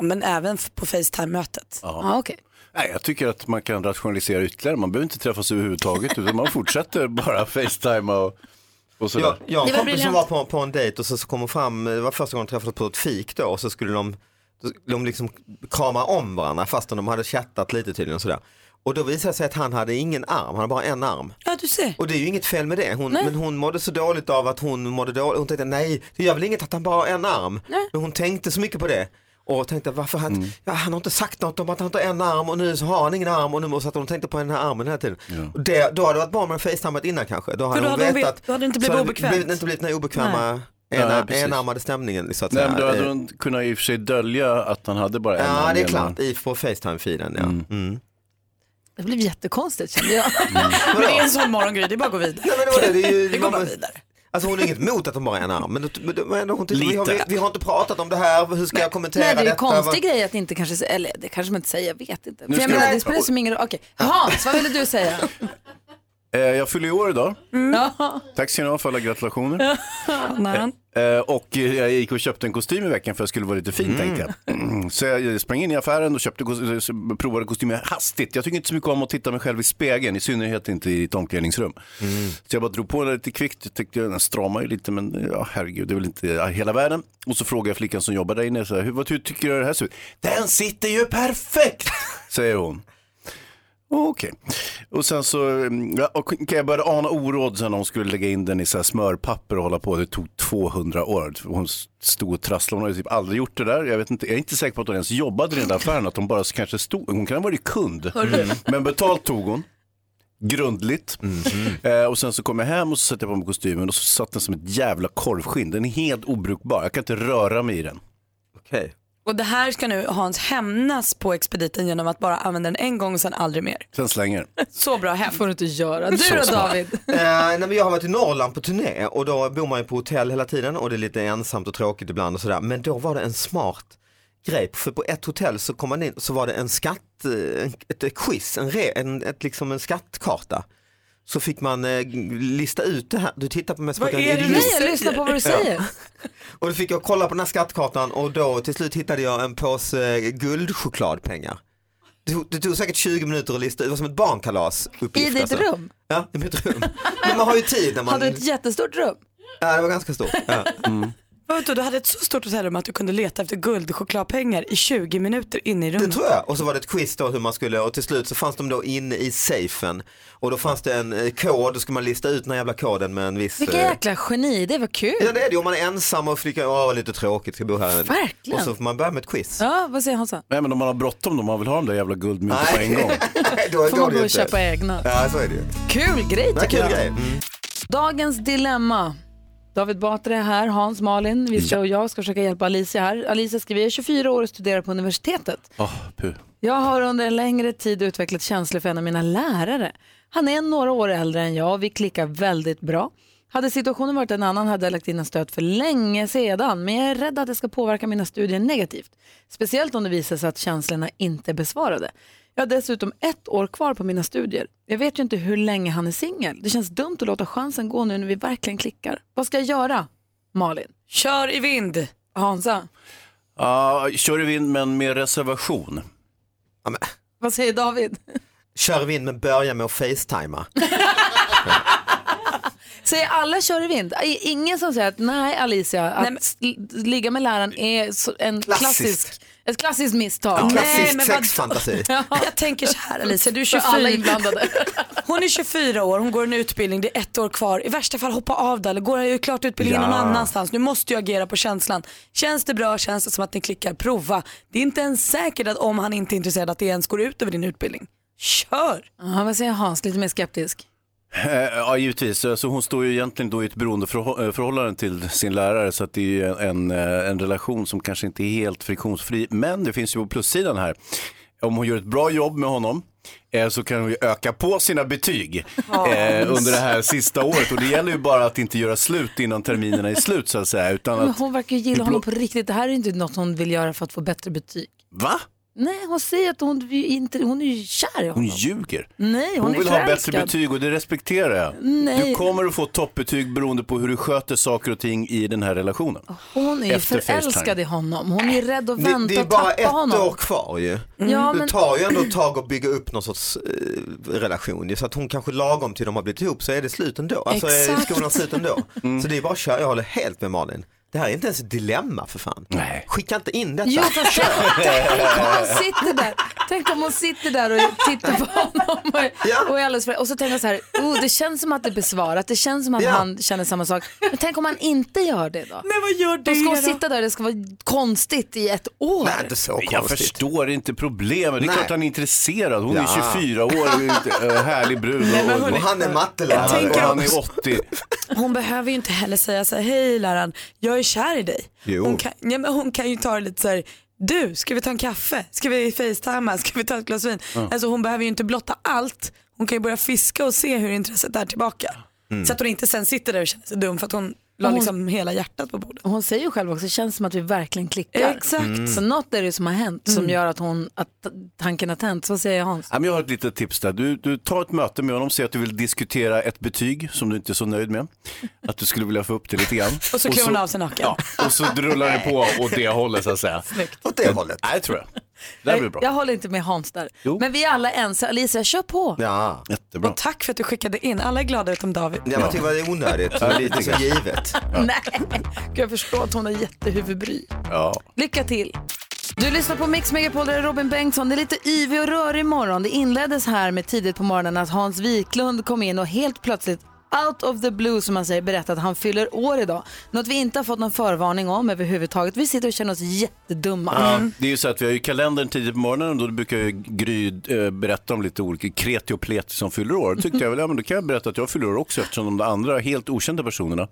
Speaker 2: Men även f- på Facetime-mötet.
Speaker 6: Ja.
Speaker 1: Ja, okej.
Speaker 6: Nej, jag tycker att man kan rationalisera ytterligare. Man behöver inte träffas överhuvudtaget utan man fortsätter bara FaceTime och, och sådär.
Speaker 16: Jag, jag och en kompis som var
Speaker 6: briljant.
Speaker 16: på, på en dejt och så, så kom hon fram, det var första gången de träffades på ett fik då och så skulle de, då skulle de liksom krama om varandra fastän de hade chattat lite tydligen och sådär. Och då visade det sig att han hade ingen arm, han hade bara en arm.
Speaker 2: Ja, du ser.
Speaker 16: Och det är ju inget fel med det, hon,
Speaker 2: Nej.
Speaker 16: men hon mådde så dåligt av att hon mådde dåligt, hon tänkte nej det gör väl inget att han bara har en arm. Men hon tänkte så mycket på det. Och tänkte varför han, ja, han har inte sagt något om att han inte har en arm och nu så har han ingen arm och nu måste att hon tänkte på den här armen hela tiden. Och det, då hade det varit bra om hon facetimat innan kanske. Då hade
Speaker 2: då
Speaker 16: hon
Speaker 2: hade hon vet-
Speaker 16: vetat.
Speaker 2: då hade det inte blivit
Speaker 16: så
Speaker 2: obekvämt.
Speaker 16: blivit- inte blivit den här obekväma
Speaker 6: Nej.
Speaker 16: ena,
Speaker 6: Nej, precis.
Speaker 16: enarmade stämningen. Så att
Speaker 6: Nej,
Speaker 16: säga.
Speaker 6: men då hade
Speaker 16: Eh,
Speaker 6: hon kunnat i och för sig dölja att han hade bara en
Speaker 16: Ja
Speaker 6: hand
Speaker 16: det är
Speaker 6: ena.
Speaker 16: klart, i på Facetime-filen ja. Mm.
Speaker 1: Det blev jättekonstigt kände jag.
Speaker 2: Mm. Men det är en sån morgongry, det är bara att gå vidare.
Speaker 16: Nej, men det var det, det är ju,
Speaker 2: Vi går bara vidare.
Speaker 16: Alltså hon är inget emot att hon bara har en arm, men, då- men, då- men hon tycker, vi, har, vi,
Speaker 1: Lite.
Speaker 16: vi har inte pratat om det här, hur ska jag kommentera
Speaker 1: Nej, det är ju
Speaker 16: detta?
Speaker 1: en konstig
Speaker 16: Vad-
Speaker 1: grej att inte kanske, eller det kanske man inte säger, jag vet inte.
Speaker 6: Nu
Speaker 1: För jag
Speaker 6: ska
Speaker 1: menar,
Speaker 6: jag-
Speaker 1: det spelar som ingen roll. Okej, Hans, vad ville du säga?
Speaker 6: Eh, jag fyller i år idag.
Speaker 16: Mm.
Speaker 1: Ja.
Speaker 6: Tack ska ni ha för alla gratulationer.
Speaker 2: Nej.
Speaker 6: Eh, Och eh, jag gick och köpte en kostym i veckan för jag skulle vara lite fin tänkte
Speaker 16: Mm.
Speaker 6: jag. Mm, Så jag sprang in i affären och köpte, kos- eh, provade kostymen hastigt. Jag tycker inte så mycket om att titta mig själv i spegeln, i synnerhet inte i ett omklädningsrum. Så jag bara drog på den lite kvickt, jag tyckte den stramar ju lite men ja, herregud det är väl inte ja, hela världen. Och så frågade jag flickan som jobbar där inne, så här, hur, vad, hur tycker du det här ser ut? Den sitter ju perfekt, säger hon. Okej. Och sen så mm, ja, och kan jag började ana oråd sen när hon skulle lägga in den i så här smörpapper och hålla på. Det tog 200 år. Hon stod och trasslade. Hon hade typ aldrig gjort det där. Jag, vet inte, jag är inte säker på att hon ens jobbade i den där affären. Att hon bara kanske stod. Hon kan ha varit kund.
Speaker 4: Hörru.
Speaker 6: Mm. Men betalt tog hon. Grundligt. Eh, och sen så kom jag hem och så satte jag på mig kostymen och så satt den som ett jävla korvskinn. Den är helt obrukbar. Jag kan inte röra mig i den.
Speaker 16: Okej.
Speaker 2: Och det här ska nu Hans hämnas på expediten genom att bara använda den en gång och sen aldrig mer.
Speaker 6: Sen slänger
Speaker 2: Så bra hem. får
Speaker 1: du inte göra.
Speaker 16: Så smart. Eh, nej, men jag har varit i Norrland på turné och då bor man ju på hotell hela tiden och det är lite ensamt och tråkigt ibland och sådär. Men då var det en smart grej, för på ett hotell så kom man in så var det en skatt, eh, en- ett, ett quiz, en, re, en, ett, liksom en skattkarta. Så fick man eh, lista ut det här, du tittar på mig som
Speaker 1: Vad
Speaker 16: att jag
Speaker 1: är det du
Speaker 16: idiot.
Speaker 1: säger? Nej, jag lyssnar på vad du
Speaker 16: Ja.
Speaker 1: säger.
Speaker 16: Och då fick jag kolla på den här skattkartan och då till slut hittade jag en påse eh, guldchokladpengar. Det tog, det tog säkert 20 minuter att lista ut, det var som ett barnkalas.
Speaker 1: I ditt rum?
Speaker 16: Ja, i mitt rum. Men man har ju tid när man...
Speaker 1: Hade du ett jättestort rum?
Speaker 16: Ja, det var ganska stort. Ja.
Speaker 6: Mm.
Speaker 2: Vadå, du hade ett så stort hotellrum att du kunde leta efter guldchokladpengar i 20 minuter inne i rummet.
Speaker 16: Det tror jag. Och så var det ett quiz då hur man skulle, och till slut så fanns de då inne i safen. Och då fanns det en eh, kod, då skulle man lista ut den här jävla koden med en viss...
Speaker 1: Vilka
Speaker 16: eh,
Speaker 1: jäkla geni, det var kul.
Speaker 16: Ja det är det, om man är ensam och flickar, åh vad lite tråkigt, ska bo här.
Speaker 1: Verkligen.
Speaker 16: Och så får man börja med ett quiz.
Speaker 1: Ja, vad säger Hansa?
Speaker 6: Nej men om man har bråttom då, man vill ha de där jävla guldmynten på en gång.
Speaker 1: Får man gå och köpa egna?
Speaker 16: Ja, så är det ju.
Speaker 1: Kul grej
Speaker 16: Det är
Speaker 1: tycker jag.
Speaker 16: kul grej. Mm.
Speaker 1: Dagens dilemma. David Batra är här, Hans, Malin, Vissa och jag ska försöka hjälpa Alicia här. Alicia skriver, jag är 24 år och studerar på universitetet.
Speaker 6: Åh, puh.
Speaker 1: Jag har under en längre tid utvecklat känslor för en av mina lärare. Han är några år äldre än jag och vi klickar väldigt bra. Hade situationen varit en annan hade jag lagt in en stöt för länge sedan men jag är rädd att det ska påverka mina studier negativt. Speciellt om det visar sig att känslorna inte är besvarade. Jag har dessutom ett år kvar på mina studier. Jag vet ju inte hur länge han är singel. Det känns dumt att låta chansen gå nu när vi verkligen klickar. Vad ska jag göra? Malin.
Speaker 2: Kör i vind.
Speaker 1: Hansa.
Speaker 6: Ja, kör i vind men med reservation.
Speaker 1: Vad säger David?
Speaker 16: Kör vi in men börja med att facetima.
Speaker 1: Säger alla kör i vind? I- Ingen som säger att nej Alicia, att sl- ligga med läraren är så- en klassisk.
Speaker 2: Klassiskt.
Speaker 1: ett klassiskt misstag.
Speaker 2: Ja, klassisk Nej, men vadå? sexfantasi.
Speaker 1: Ja.
Speaker 2: Jag tänker så här Alicia, du är
Speaker 1: För
Speaker 2: 24.
Speaker 1: alla inblandade.
Speaker 2: Hon är 24 år, hon går en utbildning, det är ett år kvar. I värsta fall hoppa av där eller går ju klart utbildningen
Speaker 20: Ja.
Speaker 2: någon annanstans. Nu måste jag agera på känslan. Känns det bra, känns det som att ni klickar, prova. Det är inte ens säkert att om han inte är intresserad att det ens går ut över din utbildning. Kör!
Speaker 1: Ja, vad säger Hans, lite mer skeptisk?
Speaker 6: Eh, Ja, givetvis. Så hon står ju egentligen då i ett beroendeförhållande till sin lärare så att det är ju en, eh, en relation som kanske inte är helt friktionsfri. Men det finns ju på plussidan här. Om hon gör ett bra jobb med honom eh, så kan de ju öka på sina betyg
Speaker 4: Ja.
Speaker 6: eh, under det här sista året. Och det gäller ju bara att inte göra slut innan terminerna är slut så att säga. Utan
Speaker 1: Men
Speaker 6: att,
Speaker 1: hon verkar ju
Speaker 6: du
Speaker 1: gilla
Speaker 6: blå-
Speaker 1: honom på riktigt. Det här är inte något hon vill göra för att få bättre betyg.
Speaker 6: Va?
Speaker 1: Nej, hon säger att hon, vi inte, hon är ju kär i
Speaker 6: Hon
Speaker 1: honom.
Speaker 6: ljuger.
Speaker 1: Nej, hon,
Speaker 6: Hon
Speaker 1: är
Speaker 6: vill ha
Speaker 1: förälskad.
Speaker 6: bättre betyg och det respekterar jag.
Speaker 1: Nej.
Speaker 6: Du kommer att få toppbetyg beroende på hur du sköter saker och ting i den här relationen.
Speaker 1: Hon är ju
Speaker 6: Efter FaceTime.
Speaker 1: förälskad i honom. Hon är ju rädd att
Speaker 16: Det,
Speaker 1: vänta
Speaker 16: det är
Speaker 1: och
Speaker 16: bara
Speaker 1: tappa
Speaker 16: ett
Speaker 1: honom.
Speaker 16: år kvar ju.
Speaker 1: Mm. Ja,
Speaker 16: Det
Speaker 1: men-
Speaker 16: tar ju ändå ett tag att bygga upp någon sorts eh, relation ju. Så att hon kanske lagom till de har blivit ihop så är det slut ändå. Alltså är
Speaker 4: Exakt.
Speaker 16: skolan slut ändå. Så det är bara att köra, jag håller helt med Malin. Det här är inte ens ett dilemma för fan. Skicka inte in detta.
Speaker 1: Jo, fast
Speaker 16: Kör.
Speaker 1: Hon sitter där. Tänk om hon sitter där och tittar på honom och, och är alldeles för, Och så tänker jag så här, oh, det känns som att det är besvarat. Det känns som att
Speaker 2: Ja.
Speaker 1: han känner samma sak. Men tänk om han inte gör det då?
Speaker 2: Nej, vad gör
Speaker 1: Då ska hon
Speaker 2: det då?
Speaker 1: sitta där och det ska vara konstigt i ett år.
Speaker 16: Nej, inte så konstigt.
Speaker 6: Jag förstår inte problemet. Det är
Speaker 16: Nej.
Speaker 6: klart han är intresserad. Hon
Speaker 16: Ja.
Speaker 6: är 24 år, äh, härlig brud.
Speaker 16: Nej, men hörni,
Speaker 6: och,
Speaker 16: Och han
Speaker 2: eh,
Speaker 16: är mattelärare.
Speaker 6: Och han, och
Speaker 16: tänker
Speaker 6: han är
Speaker 16: också-
Speaker 6: 80.
Speaker 2: Hon behöver ju inte heller säga så här, hej läraren, jag är kär i dig.
Speaker 6: Jo.
Speaker 2: Hon, kan, ja, men hon kan ju ta det lite så här, du, ska vi ta en kaffe? Ska vi facetima? Ska vi ta ett glas vin?
Speaker 4: Ja.
Speaker 2: Alltså hon behöver ju inte blotta allt. Hon kan ju börja fiska och se hur intresset är tillbaka.
Speaker 4: Mm.
Speaker 2: Så att hon inte sen sitter där och känner sig dum för att hon la
Speaker 1: Hon-
Speaker 2: liksom hela hjärtat på bordet.
Speaker 1: Och Hon säger ju själv också, det känns som att vi verkligen klickar.
Speaker 2: Exakt. Mm.
Speaker 1: Så något är det som har hänt som
Speaker 2: Mm.
Speaker 1: gör att, hon, att tanken har tänts. Vad säger Hans?
Speaker 6: Ja, men Jag har ett litet tips där. Du, du tar ett möte med honom, säger att du vill diskutera ett betyg som du inte är så nöjd med. Att du skulle vilja få upp det lite grann.
Speaker 2: Och så klär hon av sig naken.
Speaker 6: Ja, och så rullar det på åt det hållet så att säga.
Speaker 1: Snyggt.
Speaker 16: Åt det hållet.
Speaker 6: Nej, tror jag. Det här blir bra.
Speaker 1: Jag håller inte med Hans där.
Speaker 6: Jo.
Speaker 1: Men vi är alla ense. Alicia, kör på.
Speaker 16: Ja.
Speaker 6: Jättebra.
Speaker 2: Tack för att du skickade in, alla är glada utom David.
Speaker 16: Ja, men tycker det är onödigt.
Speaker 6: Ja,
Speaker 16: Det
Speaker 6: lite
Speaker 16: är så
Speaker 6: grann.
Speaker 16: givet.
Speaker 1: Nej, Gud, jag förstår att hon har jättehuvudbry.
Speaker 6: Ja.
Speaker 1: Lycka till! Du lyssnar på Mix Megapol, där är Robin Bengtsson. Det är lite yvig och rörig imorgon. Det inleddes här med tidigt på morgonen att Hans Wiklund kom in och helt plötsligt out of the blue som man säger berättade att han fyller år idag. Något vi inte har fått någon förvarning om överhuvudtaget. Vi sitter och känner oss jättedumma. Mm.
Speaker 6: Ja, det är ju så att vi har ju kalendern tidigt på morgonen och då brukar ju Gry eh, berätta om lite olika kreti och pleti som fyller år. Då tyckte jag väl, ja men då kan jag berätta att jag fyller år också eftersom de där andra helt okända personerna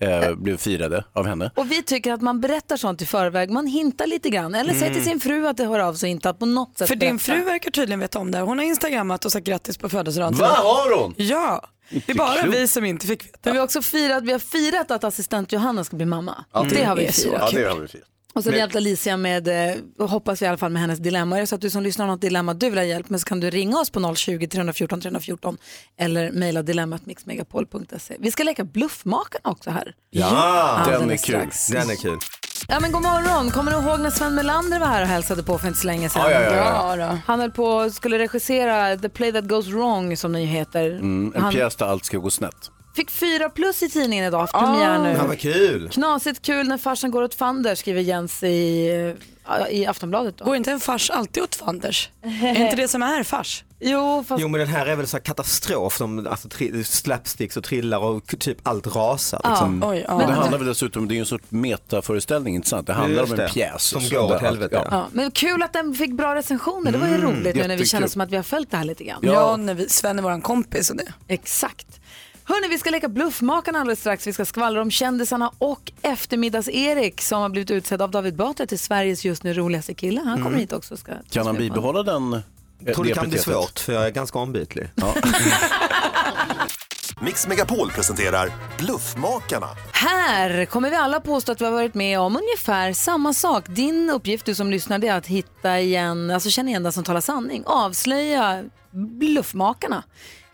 Speaker 6: eh, blev firade av henne.
Speaker 1: Och vi tycker att man berättar sånt i förväg. Man hintar lite grann. Eller säger till sin
Speaker 6: Mm.
Speaker 1: fru att det hör av sig inte att på något sätt
Speaker 2: För din
Speaker 1: berätta.
Speaker 2: fru verkar tydligen veta om det här. Hon har instagrammat och sagt grattis på födelsedagen. till
Speaker 1: Va,
Speaker 2: dig.
Speaker 1: har hon?
Speaker 2: Ja, det är bara vi som inte fick veta.
Speaker 1: Men vi har också firat, vi har firat att assistent Johanna ska bli mamma.
Speaker 2: Ja,
Speaker 1: Det
Speaker 2: det
Speaker 1: har vi
Speaker 2: är så
Speaker 1: firat.
Speaker 2: kul.
Speaker 6: Det har vi firat.
Speaker 1: Och så
Speaker 6: Men-
Speaker 1: hjälpte Alicia med, eh, och hoppas vi i alla fall med hennes dilemma. Är det så att du som lyssnar har något dilemma du vill ha hjälp med så kan du ringa oss på 020 314 314 eller mejla dilemmat mixmegapol.se. Vi ska leka bluffmakarna också här.
Speaker 16: den är
Speaker 1: Alldeles
Speaker 16: kul.
Speaker 1: strax.
Speaker 16: Den är kul.
Speaker 1: Ja men god morgon, kommer du ihåg när Sven Melander var här och hälsade på för inte så länge sedan?
Speaker 16: Ja, ja, ja, ja.
Speaker 1: då. Han höll på och skulle regissera The Play That Goes Wrong som den ju heter.
Speaker 6: Mm, en
Speaker 1: han
Speaker 6: pjäs där allt ska gå snett.
Speaker 1: fick fyra plus i tidningen idag, haft premiär nu.
Speaker 16: Ah. Ja, vad kul.
Speaker 1: Knasigt kul när farsan går åt fanders skriver Jens i, eh, i Aftonbladet. Då. Går
Speaker 2: inte en fars alltid åt fanders? Är inte det som är fars?
Speaker 1: Jo, fast...
Speaker 16: Jo men den här är väl så här katastrof som alltså, tri- slapsticks och trillar och k- typ allt rasar.
Speaker 1: Ja.
Speaker 16: Liksom.
Speaker 1: Oj, ja.
Speaker 6: Och det handlar väl dessutom, det är ju en sorts metaföreställning, inte sant? Det handlar
Speaker 16: Just
Speaker 6: om
Speaker 16: det.
Speaker 6: en pjäs.
Speaker 16: Som
Speaker 6: så
Speaker 16: går åt
Speaker 6: där allt-
Speaker 16: helvete,
Speaker 6: ja.
Speaker 1: Ja, men kul att den fick bra recensioner, det var ju
Speaker 6: Mm,
Speaker 1: roligt nu när vi
Speaker 6: jättekul.
Speaker 1: känner som att vi har följt det här lite grann.
Speaker 2: Ja, ja när vi, Sven är våran kompis och det.
Speaker 1: Exakt. Hörni, vi ska leka Bluffmakarna alldeles strax. Vi ska skvallra om kändisarna och eftermiddags-Erik som har blivit utsedd av David Batra till Sveriges just nu roligaste kille. Han kommer
Speaker 16: Mm.
Speaker 1: hit också. och Ska
Speaker 6: Kan han bibehålla den? eh,
Speaker 16: Jag tror det kan bli
Speaker 6: epitetet?
Speaker 16: svårt för jag är ganska ombytlig.
Speaker 21: Mix Megapol presenterar Bluffmakarna.
Speaker 1: Här kommer vi alla påstå att vi har varit med om ungefär samma sak. Din uppgift, du som lyssnar, det är att hitta igen, alltså känna igen den som talar sanning. Avslöja bluffmakarna,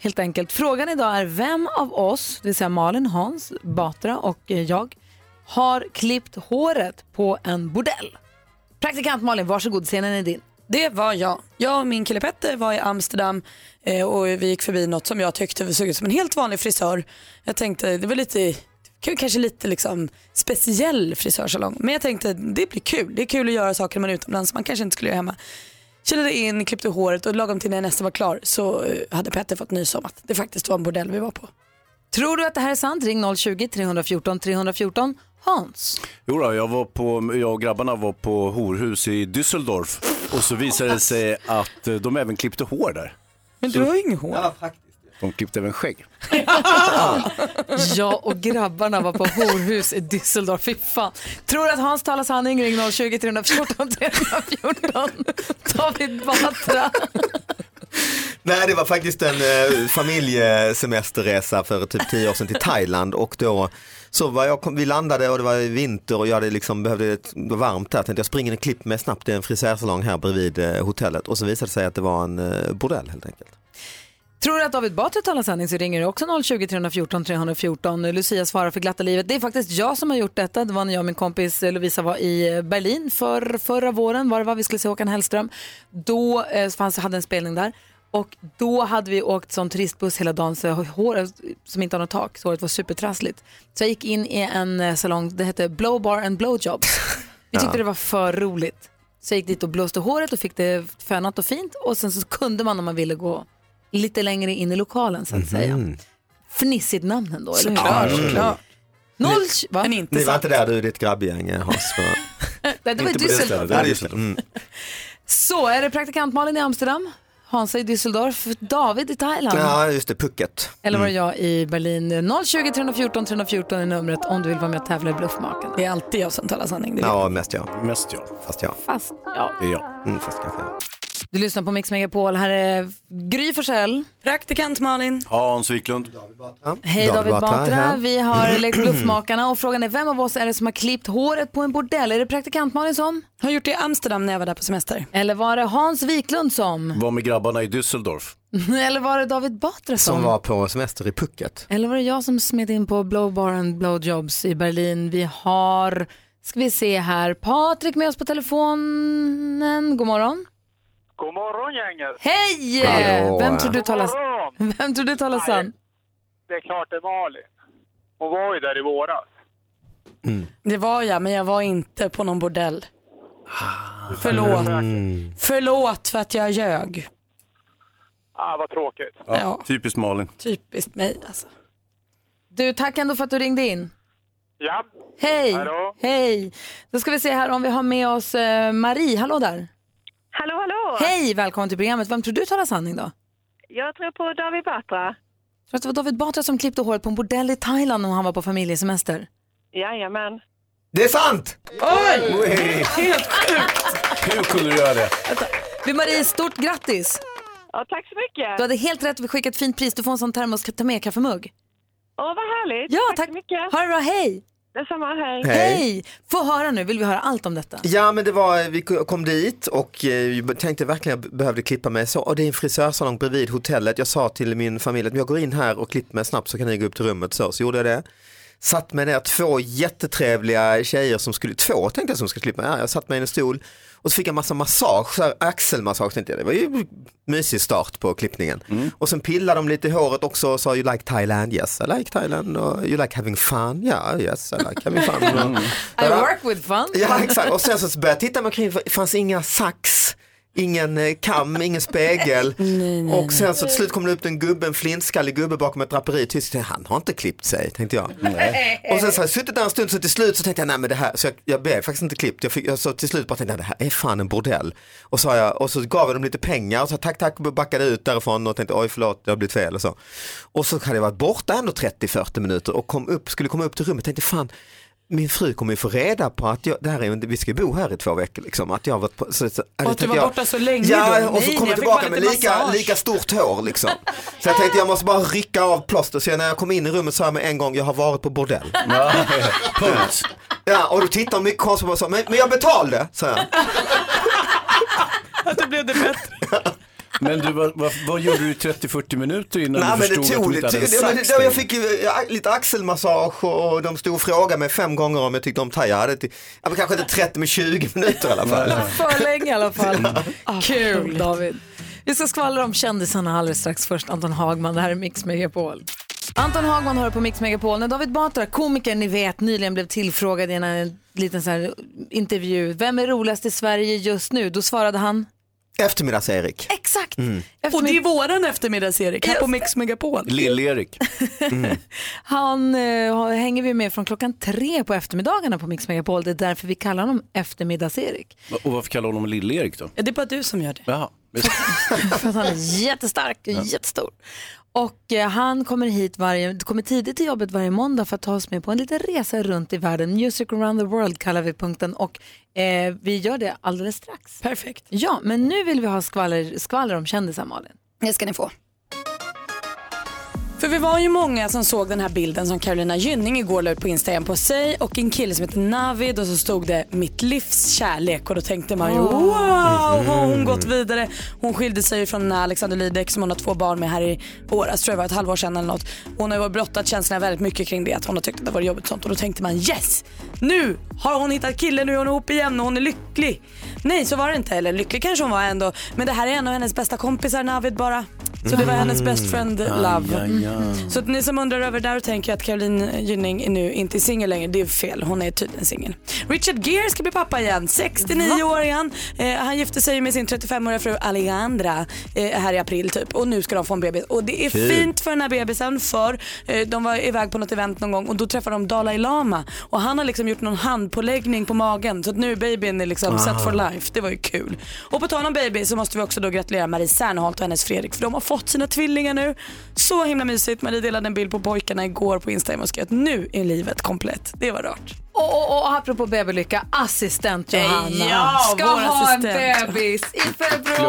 Speaker 1: helt enkelt. Frågan idag är vem av oss, det vill säga Malin, Hans, Batra och eh, jag, har klippt håret på en bordell? Praktikant Malin, varsågod, scenen är din.
Speaker 2: Det var jag. Jag och min kille Petter var i Amsterdam eh, och vi gick förbi något som jag tyckte såg ut som en helt vanlig frisör. Jag tänkte det var lite, k- kanske lite liksom speciell frisörsalong. Men jag tänkte det blir kul. Det är kul att göra saker när man är utomlands som man kanske inte skulle göra hemma. Kilade in, klippte håret och lagom till när jag nästan var klar så eh, hade Petter fått nys om att det faktiskt var en bordell vi var på.
Speaker 1: Tror du att det här är sant? Ring 020-314 314. Hans.
Speaker 6: Jo då, jag, var på, jag och grabbarna var på horhus i Düsseldorf och så visade det sig att eh, de även klippte hår där.
Speaker 2: Men du har ju inget hår.
Speaker 6: De klippte även skägg.
Speaker 1: Jag och grabbarna var på horhus i Düsseldorf. Fy fan. Tror att Hans talar sanning? Ring 020 314 314. David Batra.
Speaker 16: Nej, det var faktiskt en eh, familjesemesterresa för typ tio år sedan till Thailand och då så var jag, kom, vi landade och det var vinter och jag hade liksom behövde ett, det var varmt där. Tänkte jag springer och klipp mig snabbt i en frisörsalong här bredvid eh, hotellet och så visade det sig att det var en eh, bordell helt enkelt.
Speaker 1: Tror du att David Batra talar sanning så ringer du också 020 314 314. Lucia svarar för glatta livet. Det är faktiskt jag som har gjort detta. Det var när jag och min kompis Lovisa var i eh, Berlin för, förra våren var det var vi skulle se Håkan Hellström. Då eh, fanns, hade en spelning där och då hade vi åkt som turistbuss hela dagen så jag har håret som inte har något tak så håret var supertrassligt. Så jag gick in i en eh, salong, det hette Blow Bar and Blowjobs. Vi tyckte
Speaker 10: Ja.
Speaker 1: det var för roligt. Så jag gick dit och blåste håret och fick det fönat och fint och sen så kunde man om man ville gå lite längre in i lokalen
Speaker 16: Mhm.
Speaker 1: så att
Speaker 16: Mm.
Speaker 1: säga. Fnissigt namn ändå, eller hur?
Speaker 16: Såklart, Mm. såklart.
Speaker 1: Noll, va? Men
Speaker 16: Ni var inte där du och ditt grabbgäng eh, Hans? va?
Speaker 1: Nej, det var i
Speaker 16: Inte på stället.
Speaker 1: Düsseldorf.
Speaker 16: Ja, det är Düsseldorf. Mm.
Speaker 1: Så, är det praktikant Malin i Amsterdam, Hansa i Düsseldorf, David i Thailand.
Speaker 16: Ja, just det, pucket. Mm.
Speaker 1: Eller var det jag i Berlin? 020 314 314 är numret om du vill vara med och tävla i Bluffmakarna.
Speaker 2: Det är alltid jag som talar sanning. Det
Speaker 16: Ja, mest jag.
Speaker 6: Mest jag.
Speaker 16: Fast jag.
Speaker 1: Fast, ja.
Speaker 6: Det är jag.
Speaker 16: Mm, fast kanske jag.
Speaker 1: Du lyssnar på Mix Megapol. Här är Gry Forssell.
Speaker 2: Praktikant Malin.
Speaker 6: Hans Wiklund.
Speaker 1: Hej David Batra. Mm.
Speaker 6: här.
Speaker 1: Vi har lekt
Speaker 16: Mm.
Speaker 1: Bluffmakarna och frågan är vem av oss är det som har klippt håret på en bordell? Är det praktikant Malin som?
Speaker 2: Har gjort det i Amsterdam när jag var där på semester.
Speaker 1: Eller var det Hans Wiklund som?
Speaker 6: Var med grabbarna i Düsseldorf.
Speaker 1: Eller var det David Batra som?
Speaker 16: Som var på semester i pucket.
Speaker 1: Eller var det jag som smet in på Blow Bar and Blowjobs i Berlin? Vi har, ska vi se här, Patrik med oss på telefonen. God morgon.
Speaker 9: God morgon gänget!
Speaker 1: Hej!
Speaker 9: Hallå.
Speaker 1: Eh, Vem tror du
Speaker 9: God
Speaker 1: talar,
Speaker 9: morgon.
Speaker 1: vem tror du talar sann?
Speaker 9: Det är klart det är Malin. Hon var ju där i våras.
Speaker 2: Det var jag, men jag var inte på någon bordell. Ah. Förlåt.
Speaker 16: Mm.
Speaker 2: Förlåt för att jag ljög.
Speaker 9: Ah, vad tråkigt.
Speaker 6: Ja, Typiskt Malin.
Speaker 2: Typiskt mig alltså.
Speaker 1: Du, tack ändå för att du ringde in.
Speaker 9: Ja.
Speaker 1: Hej!
Speaker 9: Hallå.
Speaker 1: Hej! Då ska vi se här om vi har med oss eh, Marie. Hallå där!
Speaker 22: Hallå, hallå!
Speaker 1: Hej! Välkommen till programmet. Vem tror du talar sanning då?
Speaker 22: Jag tror på David Batra.
Speaker 1: Tror att det var David Batra som klippte håret på en bordell i Thailand när han var på familjesemester?
Speaker 22: Jajamän.
Speaker 16: Det är sant! Oj!
Speaker 1: Helt sjukt!
Speaker 6: Hur kunde du göra det?
Speaker 1: Du Marie, stort grattis!
Speaker 22: Ja, tack så mycket!
Speaker 1: Du hade helt rätt. Vi skickar ett fint pris. Du får en sån termos ta med kaffemugg.
Speaker 22: Åh, vad härligt!
Speaker 1: Ja, tack, så mycket! Ha det bra, hej!
Speaker 22: Detsamma, hej!
Speaker 1: Hej!
Speaker 16: Hej.
Speaker 1: Få höra nu, vill vi höra allt om detta?
Speaker 16: Ja men det var, vi kom dit och eh, tänkte verkligen jag behövde klippa mig så, och det är en frisörsalong bredvid hotellet. Jag sa till min familj att jag går in här och klipper mig snabbt så kan ni gå upp till rummet så, så gjorde jag det. Satt mig ner, två jättetrevliga tjejer som skulle, två tänkte jag som skulle klippa mig, ja, jag satt mig i en stol och så fick jag massa massage, så här axelmassage tänkte jag, det var ju en mysig start på klippningen. Och sen pillade de lite i håret också och sa you like Thailand, yes I like Thailand, och you like having fun, yeah yes I like having fun. Och-
Speaker 1: I work with fun.
Speaker 16: Ja exakt, och sen så började jag titta mig omkring, det fanns inga sax, ingen eh, kam, ingen spegel. och sen så till slut kom det upp en gubbe, en flintskallig gubbe bakom ett draperi, tyst, han har inte klippt sig tänkte jag.
Speaker 4: Nej.
Speaker 16: Och sen så har jag suttit där en stund så till slut så tänkte jag nej men det här, så jag, jag blev faktiskt inte klippt, jag, fick, jag så till slut bara tänkte jag det här är fan en bordell. Och, så jag, och så gav jag dem lite pengar och så tack tack och backade ut därifrån och tänkte oj förlåt det har blivit fel och så. Och så hade jag varit borta ändå 30-40 minuter och kom upp, skulle komma upp till rummet tänkte fan min fru kommer ju få reda på att jag, det här är, ju inte- vi ska ju bo här i två veckor liksom. Att jag har varit på, så, så,
Speaker 2: Och att du var
Speaker 16: jag,
Speaker 2: borta så länge
Speaker 16: Ja,
Speaker 2: då.
Speaker 16: och så
Speaker 2: Nej, jag
Speaker 16: kommer
Speaker 2: fick
Speaker 16: jag
Speaker 2: bara
Speaker 16: tillbaka med
Speaker 2: lite
Speaker 16: lika,
Speaker 2: massage.
Speaker 16: lika stort hår liksom. Så jag tänkte jag måste bara rycka av plåster. Så jag, när jag kom in i rummet sa jag med en gång, jag har varit på bordell. Punkt. Ja, och då tittade de mycket konstigt på mig och sa, men, men jag betalade, sa jag.
Speaker 2: Att det blev det bättre.
Speaker 6: Men du, vad, vad, vad gjorde du i 30-40 minuter innan
Speaker 16: Nej,
Speaker 6: du
Speaker 16: men det
Speaker 6: förstod att
Speaker 16: tog
Speaker 6: du inte hade
Speaker 16: lite
Speaker 6: en
Speaker 16: tid. Ja, men
Speaker 6: sax?
Speaker 16: det- Jag fick ju, eh, lite axelmassage och och de stod och frågade mig fem gånger om jag tyckte om thai. Jag hade till, ja, men kanske inte 30 men 20 minuter i alla fall.
Speaker 1: För länge i alla fall. Kul David. Vi ska skvallra om kändisarna alldeles strax. Först Anton Hagman, det här är Mix Megapol. Anton Hagman hör på Mix Megapol. När David Batra, komikern ni vet, nyligen blev tillfrågad i en, en liten så här intervju. Vem är roligast i Sverige just nu? Då svarade han.
Speaker 16: Eftermiddags-Erik.
Speaker 1: Exakt.
Speaker 16: Mm.
Speaker 2: Och det är våran eftermiddags-Erik här på Mix Megapol.
Speaker 6: Lill-Erik.
Speaker 16: Mm.
Speaker 1: Han eh, har- hänger vi med från klockan tre på eftermiddagarna på Mix Megapol. Det är därför vi kallar honom Eftermiddags-Erik.
Speaker 6: Och varför kallar du honom Lill-Erik då?
Speaker 2: Ja, det är bara du som gör det.
Speaker 6: Jaha.
Speaker 1: För att han är jättestark och jättestor. Och eh, han kommer hit varje, kommer tidigt till jobbet varje måndag för att ta oss med på en liten resa runt i världen. Music around the world kallar vi punkten och eh, vi gör det alldeles strax.
Speaker 2: Perfekt.
Speaker 1: Ja, men nu vill vi ha skvaller, skvaller om kändisar Malin.
Speaker 2: Det ska ni få. För vi var ju många som såg den här bilden som Carolina Gynning igår la ut på Instagram på sig och en kille som heter Navid och så stod det mitt livs kärlek och då tänkte man ju wow, har hon gått vidare? Hon skilde sig ju från Alexander Lidbeck som hon har två barn med här i våras, tror jag det var ett halvår sedan eller något. Hon har ju brottat känslorna väldigt mycket kring det, att hon har tyckt att det var jobbigt och sånt och då tänkte man yes, nu har hon hittat killen, nu är hon ihop igen och hon är lycklig. Nej så var det inte, eller lycklig kanske hon var ändå, men det här är en av hennes bästa kompisar Navid bara. Så
Speaker 4: Mm-hmm.
Speaker 2: det var hennes best friend
Speaker 4: Mm.
Speaker 2: love. Så att ni som undrar över där och tänker att Caroline Gynning är nu inte är singel längre, det är fel. Hon är tydligen singel. Richard Gere ska bli pappa igen, 69 år är han. Eh, han gifte sig med sin 35-åriga fru Alejandra eh, här i april typ och nu ska de få en bebis. Och det är
Speaker 20: Kul.
Speaker 2: fint för den här bebisen för eh, de var iväg på något event någon gång och då träffade de Dalai Lama och han har liksom gjort någon handpåläggning på magen så att nu är babyn är liksom
Speaker 20: Wow.
Speaker 2: set for life. Det var ju kul. Och på tal om baby så måste vi också då gratulera Marie Serneholt och hennes Fredrik för de har fått sina tvillingar nu. Så himla mysigt. Marie delade en bild på pojkarna igår på Instagram och skrev att nu är livet komplett. Det var rart.
Speaker 1: Och, och, och apropå babylycka, assistent Johanna
Speaker 2: Ja,
Speaker 1: ska
Speaker 2: vår
Speaker 1: ha en
Speaker 2: assistent.
Speaker 1: bebis i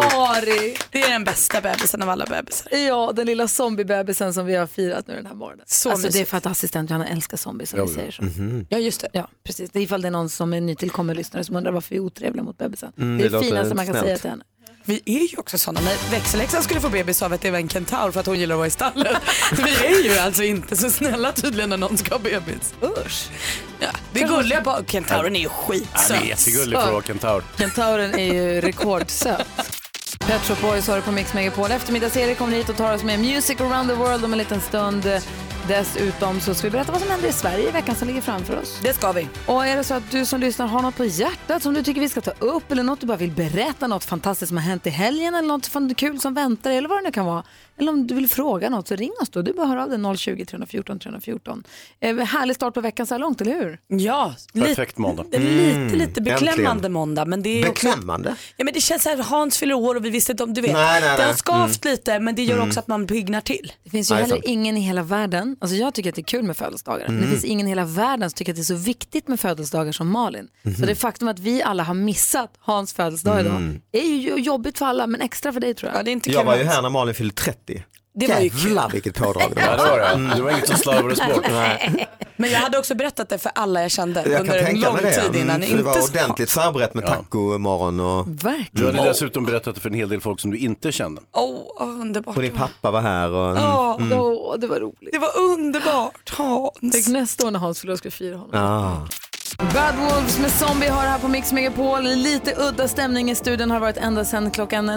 Speaker 1: februari.
Speaker 2: Det är den bästa bebisen av alla bebisar.
Speaker 1: Ja, den lilla zombiebebisen som vi har firat nu den här morgonen.
Speaker 2: Så
Speaker 1: alltså det är
Speaker 2: mysigt.
Speaker 1: för att assistent Johanna älskar zombies som vi säger så.
Speaker 4: Mm-hmm.
Speaker 2: Ja, just det.
Speaker 1: Ja, precis. Det är ifall det är någon som är nytillkommen lyssnare som undrar varför vi är otrevliga mot bebisen.
Speaker 2: Mm,
Speaker 1: det är
Speaker 2: det
Speaker 1: det
Speaker 2: låter
Speaker 1: finaste man kan
Speaker 2: snällt.
Speaker 1: säga till henne.
Speaker 2: Vi är ju också sådana. När växelläxan skulle få bebis av att det var en kentaur för att hon gillar att vara i stallet. Vi är ju alltså inte så snälla tydligen när någon ska ha bebis. Usch. Ja, det är gulliga barn. Kentauren är ju skitsöt.
Speaker 6: Ja, det är jättegulligt för att vara kentaur.
Speaker 1: Kentauren är ju rekordsöt. Pet Shop Boys har det på Mix Megapol. Eftermiddags-Erik kommer hit och tar oss med Music around the world om en liten stund. Dessutom så ska vi berätta vad som händer i Sverige i veckan som ligger framför oss.
Speaker 2: Det ska vi.
Speaker 1: Och är det så att du som lyssnar har något på hjärtat som du tycker vi ska ta upp eller något du bara vill berätta, något fantastiskt som har hänt i helgen eller något fan kul som väntar dig, eller vad det nu kan vara. Eller om du vill fråga något så ring oss då. Du bara hör av dig 020 314 314. Eh, härlig start på veckan så här långt, eller hur?
Speaker 2: Ja,
Speaker 6: Perfekt måndag.
Speaker 4: Mm.
Speaker 2: Lite, lite beklämmande måndag. Men det är också-
Speaker 16: Beklämmande?
Speaker 2: Ja, men det känns så här, Hans fyller år och vi visste inte om, du vet.
Speaker 16: Nej, nej,
Speaker 2: Det har
Speaker 16: nej.
Speaker 2: skavt lite men det gör
Speaker 16: Mm.
Speaker 2: också att man byggnar till.
Speaker 1: Det finns ju heller ingen i hela världen, alltså jag tycker att det är kul med födelsedagar, men det
Speaker 2: Mm.
Speaker 1: finns ingen i hela världen som tycker att det är så viktigt med födelsedagar som Malin. Så
Speaker 2: Mhm.
Speaker 1: det faktum att vi alla har missat Hans födelsedag idag
Speaker 16: Mm-hmm. Mm.
Speaker 1: är ju jobbigt för alla, men extra för dig tror jag. Ja,
Speaker 2: det är inte
Speaker 16: Jag var ju här när Malin fyllde 30.
Speaker 2: Det var ju
Speaker 16: Jävlar vilket pådrag
Speaker 6: Ja, det var det.
Speaker 16: Mm.
Speaker 6: Det var inget som slarvades bort.
Speaker 16: Nej.
Speaker 2: Men jag hade också berättat det för alla jag kände
Speaker 16: Jag kan
Speaker 2: under en
Speaker 16: tänka
Speaker 2: lång
Speaker 16: mig det.
Speaker 2: tid innan.
Speaker 16: Mm, för det var
Speaker 2: inte så-
Speaker 16: ordentligt förberett med tacomorgon och...
Speaker 6: Du hade
Speaker 16: Mm.
Speaker 6: dessutom berättat det för en hel del folk som du inte kände.
Speaker 2: Åh, oh, underbart.
Speaker 16: Och din pappa var här och...
Speaker 2: Ja,
Speaker 16: Mm.
Speaker 1: Åh, det var roligt.
Speaker 2: Det var underbart Hans.
Speaker 1: Tänk nästa år när Hans förlorar ska vi fira honom.
Speaker 16: Ah.
Speaker 1: Bad Wolves med Zombie har det här på Mix Megapol. Lite udda stämning i studion har varit ända sedan klockan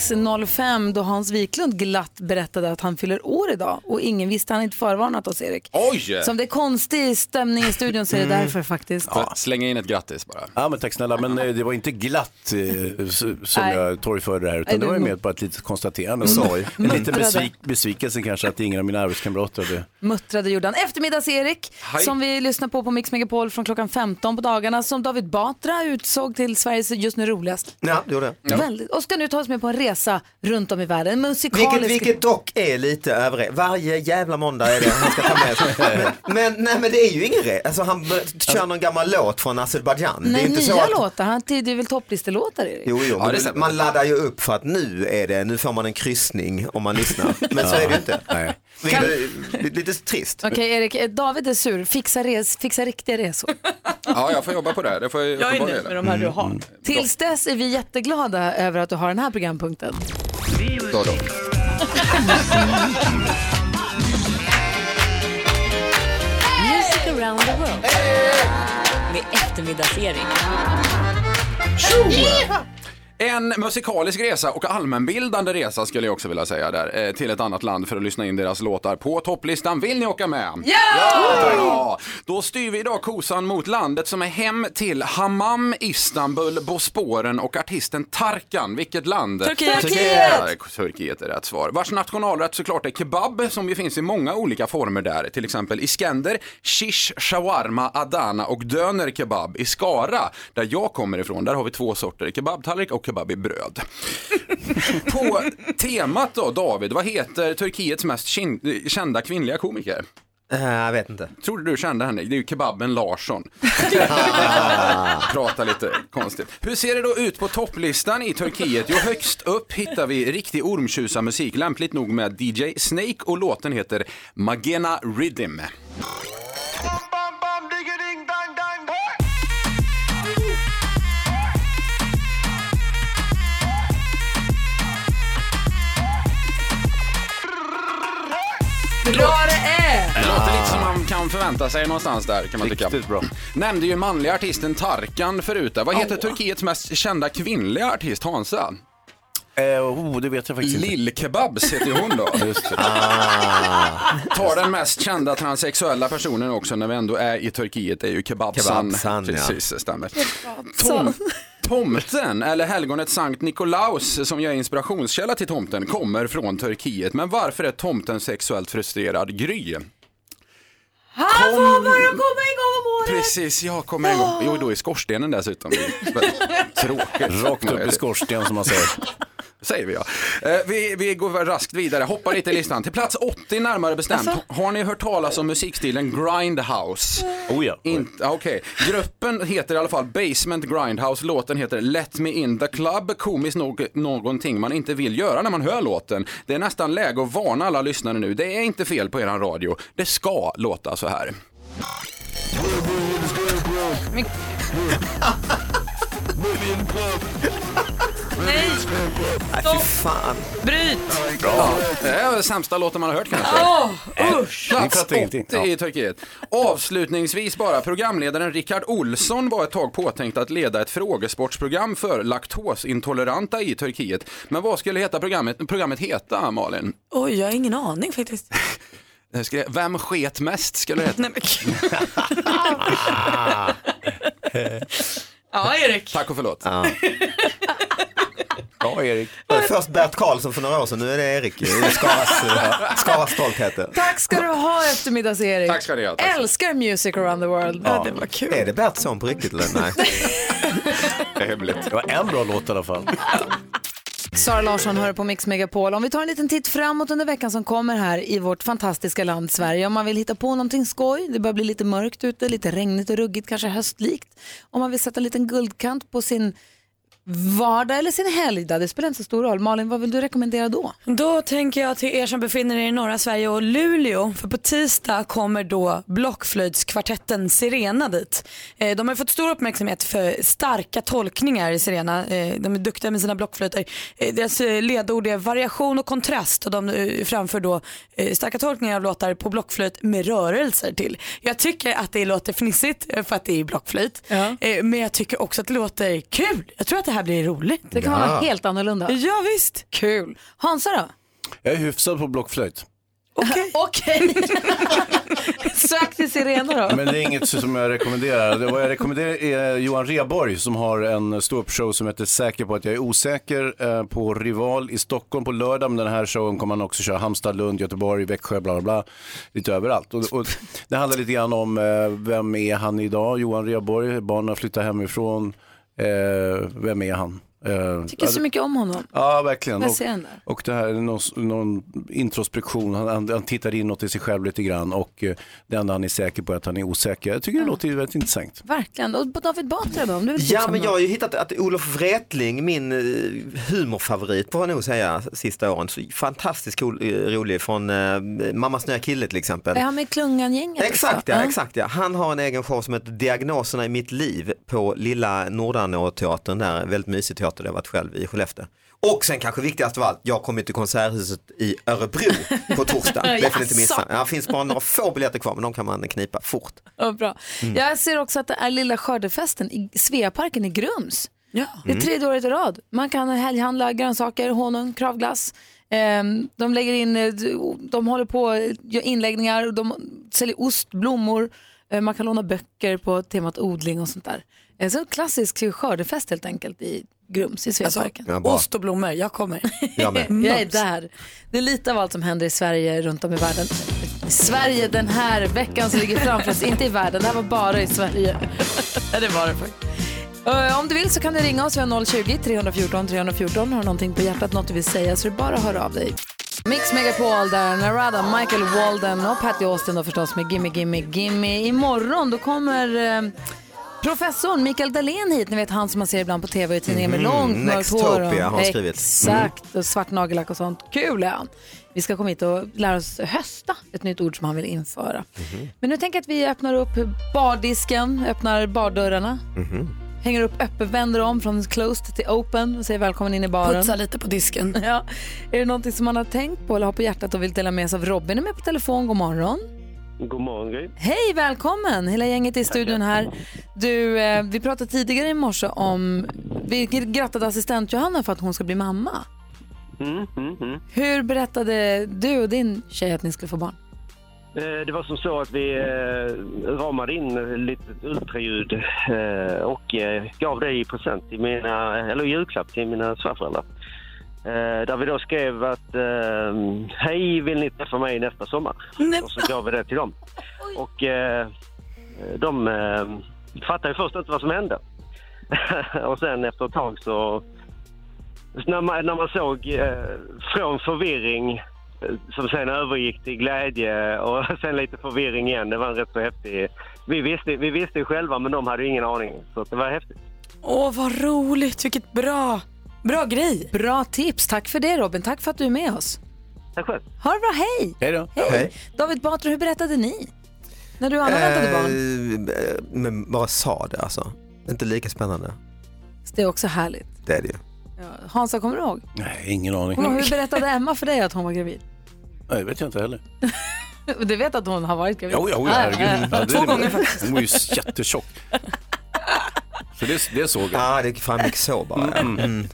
Speaker 1: 06.05 då Hans Wiklund glatt berättade att han fyller år idag och ingen visste, han hade inte förvarnat oss Erik.
Speaker 23: Oj!
Speaker 1: Så om det är konstig stämning i studion så är det
Speaker 23: Mm.
Speaker 1: därför faktiskt.
Speaker 23: Får jag Slänga in ett grattis bara.
Speaker 6: Ja men tack snälla, men eh, det var inte glatt eh, s- som
Speaker 1: Nej.
Speaker 6: jag torgförde det här
Speaker 1: Nej,
Speaker 6: utan det
Speaker 1: du
Speaker 6: var ju
Speaker 1: mun-
Speaker 6: mer bara ett litet konstaterande.
Speaker 1: Mm.
Speaker 6: Sorg. En liten
Speaker 1: Muntrade.
Speaker 6: besvik besvikelse kanske att ingen av mina arbetskamrater hade
Speaker 1: Muttrade gjorde han. Eftermiddags-Erik
Speaker 6: Hej.
Speaker 1: som vi lyssnar på på Mix Megapol från klockan 15 på dagarna som David Batra utsåg till Sveriges just nu roligast.
Speaker 16: Ja, det gjorde jag.
Speaker 1: Väldigt. Och ska nu ta oss med på en resa runt om i världen. En musikalisk
Speaker 16: Vilket, vilket dock är lite över Varje jävla måndag är det han ska ta med sig. Men, men, nej, men det är ju ingen re. Alltså han b- kör någon gammal låt från Azerbajdzjan. Det är
Speaker 1: Nej,
Speaker 16: inte
Speaker 1: nya
Speaker 16: så att,
Speaker 1: låtar. Han det är väl topplistelåtar, Erik?
Speaker 16: Jo, jo,
Speaker 23: Ja,
Speaker 16: men
Speaker 23: det stämmer.
Speaker 16: man laddar ju upp för att nu är det, nu får man en kryssning om man lyssnar. Men så är det ju inte. Nej. Vilket är li- lite trist.
Speaker 1: Okej, Erik. eh, David är sur. Fixa, res, fixa riktiga resor.
Speaker 23: Ja, jag får jobba på det här. Det får jag,
Speaker 2: Jag är nöjd med de här du har.
Speaker 1: Tills dess är vi jätteglada över att du har den här programpunkten.
Speaker 23: Då, Mm. då.
Speaker 24: Music around the world. Med eftermiddagsserien.
Speaker 23: En musikalisk resa och allmänbildande resa skulle jag också vilja säga där eh, till ett annat land för att lyssna in deras låtar på topplistan. Vill ni åka med?
Speaker 4: Ja!
Speaker 23: Ja! Då styr vi idag kosan mot landet som är hem till Hammam, Istanbul, Bosporen och artisten Tarkan. Vilket land?
Speaker 4: Turkiet.
Speaker 23: Turkiet! Turkiet är rätt svar. Vars nationalrätt såklart är kebab som ju finns i många olika former där. Till exempel iskender, shish, shawarma, adana och döner kebab i Skara. Där jag kommer ifrån, där har vi två sorter. Kebabtallrik och kebab i bröd. På temat då David, vad heter Turkiets mest kin- kända kvinnliga komiker?
Speaker 16: Eh, jag vet inte.
Speaker 23: Tror du du kände henne? Det är ju kebaben Larsson. Prata lite konstigt. Hur ser det då ut på topplistan i Turkiet? Jo, högst upp hittar vi riktig ormtjusarmusik, lämpligt nog med DJ Snake och låten heter Magena Rhythm.
Speaker 10: Bra det är!
Speaker 23: Det låter lite som man kan förvänta sig någonstans där kan man tycka. Riktigt bra. Nämnde ju manliga artisten Tarkan förut där. Vad heter Turkiets mest kända kvinnliga artist Hansa?
Speaker 6: oh, det vet jag faktiskt inte.
Speaker 23: Lill-Kebabs heter ju hon då. Just det. Tar den mest kända transsexuella personen också när vi ändå är i Turkiet är ju Kebabsan.
Speaker 16: Kebabsan, ja.
Speaker 23: Precis, det stämmer. Tom, tomten, eller helgonet Sankt Nikolaus som jag är inspirationskälla till tomten, kommer från Turkiet. Men varför är tomten sexuellt frustrerad? Gry?
Speaker 4: Han får bara komma igång om året!
Speaker 23: Precis, jag kommer igång. Jo, då i skorstenen dessutom. Tråkigt.
Speaker 6: Rakt upp i skorsten som man säger.
Speaker 23: Säger vi ja. Eh, Vi, vi går raskt vidare, hoppar lite i listan. Till plats 80 närmare bestämt.
Speaker 4: Alltså?
Speaker 23: Har ni hört talas om musikstilen Grindhouse? Oh ja. Okej. Gruppen heter i alla fall Basement Grindhouse. Låten heter Let Me In The Club. Komiskt nog någonting man inte vill göra när man hör låten. Det är nästan läge att varna alla lyssnare nu. Det är inte fel på eran radio. Det ska låta så här.
Speaker 4: Men...
Speaker 10: Nej!
Speaker 16: Nej, fy fan.
Speaker 23: Bryt! Bra. Det är den sämsta låten man har hört kanske.
Speaker 10: Åh, usch!
Speaker 6: Ni
Speaker 23: Plats
Speaker 6: fattar ingenting.
Speaker 23: 80 i Turkiet. Avslutningsvis bara, programledaren Rickard Olsson var ett tag påtänkt att leda ett frågesportsprogram för laktosintoleranta i Turkiet. Men vad skulle heta programmet, programmet heta, Malin?
Speaker 2: Oj, jag har ingen aning faktiskt.
Speaker 23: Det skulle- Vem sket mest skulle det heta.
Speaker 16: Ah.
Speaker 23: Ah.
Speaker 2: Ja, Erik.
Speaker 23: Tack och förlåt.
Speaker 16: Ja.
Speaker 23: Ja, Erik.
Speaker 16: Först Bert Karlsson för några år sedan, nu är det Erik. Det är Skaras, eh, Skaras stolthet.
Speaker 1: Tack ska du ha eftermiddags-Erik.
Speaker 16: Tack ska ni ha, tack.
Speaker 1: Älskar Music around the world.
Speaker 16: kul. Är det Bertsson på riktigt eller? Nej.
Speaker 23: det är hemligt. Det
Speaker 6: var en bra låt i alla fall.
Speaker 1: Sara Larsson hör på Mix Megapol. Om vi tar en liten titt framåt under veckan som kommer här i vårt fantastiska land Sverige. Om man vill hitta på någonting skoj, det börjar bli lite mörkt ute, lite regnigt och ruggigt, kanske höstlikt. Om man vill sätta en liten guldkant på sin vardag eller sin helg, där, det spelar inte så stor roll. Malin, vad vill du rekommendera då?
Speaker 2: Då tänker jag till er som befinner er i norra Sverige och Luleå. För på tisdag kommer då blockflöjtskvartetten Sirena dit. Eh, De har fått stor uppmärksamhet för starka tolkningar i Sirena. Eh, De är duktiga med sina blockflöjter. Eh, Deras eh, ledord är variation och kontrast och de eh, framför då eh, starka tolkningar av låtar på blockflöjt med rörelser till. Jag tycker att det låter fnissigt eh, för att det är blockflöjt. Eh, Men jag tycker också att det låter kul. Jag tror att det här blir roligt.
Speaker 1: Det kan vara helt annorlunda.
Speaker 2: Ja visst.
Speaker 1: Kul. Hansa då?
Speaker 6: Jag är hyfsad på blockflöjt.
Speaker 1: Okej. Okej. Sök till Sirena då.
Speaker 6: Men det är inget som jag rekommenderar. Det vad jag rekommenderar är Johan Reborg som har en ståuppshow som heter Säker på att jag är osäker eh, på Rival i Stockholm på lördag. Men den här showen kommer han också köra Halmstad, Lund, Göteborg, Växjö, bla bla bla. Lite överallt. Och, och det handlar lite grann om eh, vem är han idag? Johan Reborg, barnen har flyttat hemifrån. Eh, Vem är han? Eh,
Speaker 1: Tycker så mycket om honom.
Speaker 6: Ja, verkligen.
Speaker 1: Jag
Speaker 6: Och,
Speaker 1: ser den där.
Speaker 6: och det här är någon, någon introspektion, han, han, han tittar inåt i sig själv lite grann och eh, det enda han är säker på är att han är osäker. Jag tycker det låter ju väldigt intressant.
Speaker 1: Verkligen. Och David Batra då, om du vill
Speaker 16: Ja
Speaker 1: tipsa
Speaker 16: men
Speaker 1: om
Speaker 16: jag har ju hittat att Olof Wretling, min eh, humorfavorit får jag nog säga sista åren, så fantastiskt cool, eh, rolig från eh, Mamma snöa kille till exempel.
Speaker 1: Är han med Klungan-gänget?
Speaker 16: Exakt
Speaker 1: också?
Speaker 16: ja, exakt ja. Han har en egen show som heter Diagnoserna i mitt liv på lilla Nordanå-teatern där, en väldigt mysig teater där jag varit själv i Skellefteå. Och sen kanske viktigast av allt, jag kommer till Konserthuset i Örebro på torsdag. Det får ni inte missa.
Speaker 1: Jaså?
Speaker 16: Ja, Det finns bara några få biljetter kvar men de kan man knipa fort.
Speaker 1: Ja, bra.
Speaker 16: Mm.
Speaker 1: Jag ser också att det är lilla skördefesten i Sveaparken i Grums.
Speaker 2: Ja.
Speaker 1: Det är
Speaker 16: Mm.
Speaker 1: tredje året i rad. Man kan helghandla grönsaker, honung, kravglass. Ehm, De lägger in, eh, de håller på och gör inläggningar, de säljer ost, blommor, Eh, man kan låna böcker på temat odling och sånt där. Eh, Så en klassisk skördefest helt enkelt i Grums i Sveaparken.
Speaker 2: Ja, bra. ost och blommor, jag kommer.
Speaker 16: Jag med.
Speaker 1: Jag är där. Det är lite av allt som händer i Sverige runt om i världen. I Sverige den här veckan som ligger framför oss, inte i världen, det här var bara i Sverige.
Speaker 2: Ja, det var det faktiskt.
Speaker 1: Eh, Om du vill så kan du ringa oss, vi har 020-314 314. Har du någonting på hjärtat, något du vill säga så är det bara att höra av dig. Mix Megapol där Narada, Michael Walden och Patty Austin då förstås med Gimme Gimme Gimme. Imorgon då kommer eh, professorn Mikael Dahlén hit, ni vet han som man ser ibland på tv och i tidningar med
Speaker 16: Mhm,
Speaker 1: långt mörkt hår.
Speaker 16: Nextopia har han skrivit. Mm.
Speaker 1: Exakt, och svart nagellack och sånt. Kul är han. Vi ska komma hit och lära oss hösta, ett nytt ord som han vill införa.
Speaker 16: Mm.
Speaker 1: Men nu tänker jag att vi öppnar upp bardisken, öppnar bardörrarna. Hänger upp öppet, vänder om från closed till open och säger välkommen in i baren.
Speaker 2: Putsa lite på disken.
Speaker 1: Ja. Är det någonting som man har tänkt på eller har på hjärtat och vill dela med sig av? Robin är med på telefon, god morgon.
Speaker 25: God morgon Gry.
Speaker 1: Hej, välkommen! Hela gänget i studion här. Du, eh, vi pratade tidigare i morse om, vi grattade assistent Johanna för att hon ska bli mamma.
Speaker 25: Mm, mm, mm.
Speaker 1: Hur berättade du och din tjej att ni skulle få barn?
Speaker 25: Eh, Det var som så att vi eh, ramade in lite ultraljud eh, och eh, gav det i present till mina, eller i julklapp till mina svärföräldrar. Eh, Där vi då skrev att eh, hej vill ni träffa mig nästa sommar? Och så gav vi det till dem. Och eh, de eh, fattade ju först inte vad som hände. och sen efter ett tag så Så när man, när man såg eh, från förvirring eh, som sen övergick till glädje och sen lite förvirring igen. Det var en rätt så häftig... Vi visste, vi visste ju själva men de hade ju ingen aning. Så det var häftigt.
Speaker 1: Åh, vad roligt! Vilket bra, bra grej! Bra tips! Tack för det Robin, tack för att du är med oss.
Speaker 25: Tack själv.
Speaker 1: Ha det bra, hej!
Speaker 25: Hej då.
Speaker 16: Hej.
Speaker 1: David Batra, hur berättade ni? När du och Anna väntade barn?
Speaker 16: Eh, Men bara sa det alltså. Inte lika spännande.
Speaker 1: Det är också härligt.
Speaker 16: Det är det ju.
Speaker 1: Ja. Hansa, kommer du ihåg?
Speaker 6: Nej, ingen aning.
Speaker 1: Kommer du ihåg hur berättade Emma för dig att hon var gravid?
Speaker 6: Nej, det vet jag inte heller.
Speaker 1: Du vet att hon har varit gravid?
Speaker 6: Jo, jo, jo
Speaker 1: Ah,
Speaker 6: herregud.
Speaker 1: ja,
Speaker 6: Ja,
Speaker 1: ja.
Speaker 6: det är det. Hon var ju jättetjock. Så det, det såg jag.
Speaker 16: Ja, det framgick så bara. Mm. Mm.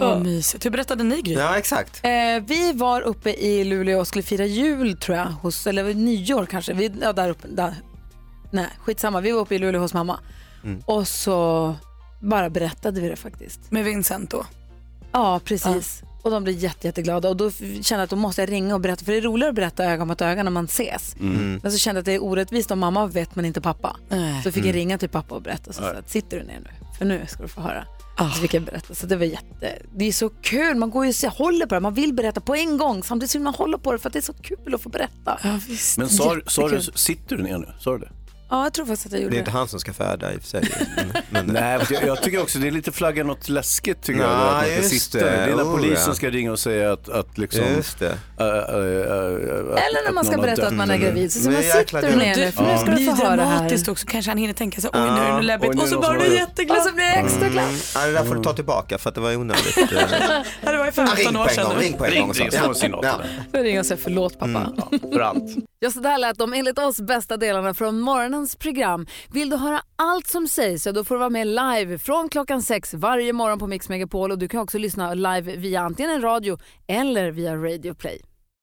Speaker 2: Åh, mysigt. Hur berättade ni Gry?
Speaker 16: Ja, exakt.
Speaker 1: Eh, vi var uppe i Luleå och skulle fira jul tror jag, hos, eller nyår kanske. Vi, ja, där uppe, där. Nej, skitsamma. Vi var uppe i Luleå hos mamma och så bara berättade vi det faktiskt.
Speaker 2: Med Vincent då?
Speaker 1: Ja, precis. Och de blev jätte, jätteglada och då f- kände jag att då måste jag ringa och berätta för det är roligare att berätta öga mot öga när man ses.
Speaker 4: Mm.
Speaker 1: Men så kände jag att det är orättvist om mamma vet men inte pappa.
Speaker 4: Nej.
Speaker 1: Så fick jag
Speaker 4: Mm.
Speaker 1: ringa till pappa och berätta. Så,
Speaker 4: Nej. Ah.
Speaker 1: så att, sitter du ner nu? För nu ska du få höra. Så fick jag berätta. Så det var jätte... Det är så kul. Man går ju och håller på det. Man vill berätta på en gång. Samtidigt vill man hålla på det för att det är så kul att få berätta.
Speaker 2: Ja, visst.
Speaker 6: Men sa, sa du,
Speaker 1: Jättekul.
Speaker 6: sitter du ner nu? Sa du det?
Speaker 1: Ja, jag tror faktiskt att jag gjorde det.
Speaker 16: han som ska föda i och för sig.
Speaker 6: Nej, för jag, jag tycker också det är lite flagga något läskigt tycker jag.
Speaker 16: Nej,
Speaker 6: Att man ska
Speaker 16: just
Speaker 6: sitta.
Speaker 16: det.
Speaker 6: det är när
Speaker 16: Oh,
Speaker 6: polisen
Speaker 16: ja.
Speaker 6: ska ringa och säga att, att liksom...
Speaker 16: Just det.
Speaker 1: Eller när man ska berätta att man är gravid. Så, så
Speaker 16: Mm.
Speaker 2: Men
Speaker 1: man
Speaker 2: jäklar,
Speaker 1: sitter du ner
Speaker 2: det-
Speaker 1: nu för nu ska
Speaker 2: Det
Speaker 1: du
Speaker 2: blir
Speaker 1: få höra här.
Speaker 2: dramatiskt också. Kanske han hinner tänka sig, oj nu är
Speaker 16: Ja.
Speaker 2: det läbbigt.
Speaker 16: Oj, nu
Speaker 2: Och
Speaker 16: är
Speaker 2: så
Speaker 16: det
Speaker 2: bara
Speaker 16: Mm. någon som
Speaker 2: du
Speaker 16: har-
Speaker 2: jätteglad.
Speaker 1: Och så Alltså, blir jag extra glad.
Speaker 16: Ja, det där får du ta tillbaka för att det var onödigt.
Speaker 2: Ja, Det var ju
Speaker 16: Ja,
Speaker 2: 15 år sedan. nu.
Speaker 16: Ring på en
Speaker 4: Ring
Speaker 16: gång.
Speaker 4: till
Speaker 16: Ja.
Speaker 4: Småsinat.
Speaker 16: Ja. Mm,
Speaker 1: Så ringer jag och säger förlåt pappa.
Speaker 16: För allt.
Speaker 1: Ja, så där lät de enligt oss bästa delarna från morgonens program. Vill du höra allt som sägs så då får du vara med live från klockan sex varje morgon på Mix Megapol och du kan också lyssna live via antingen en radio eller via Radio Play.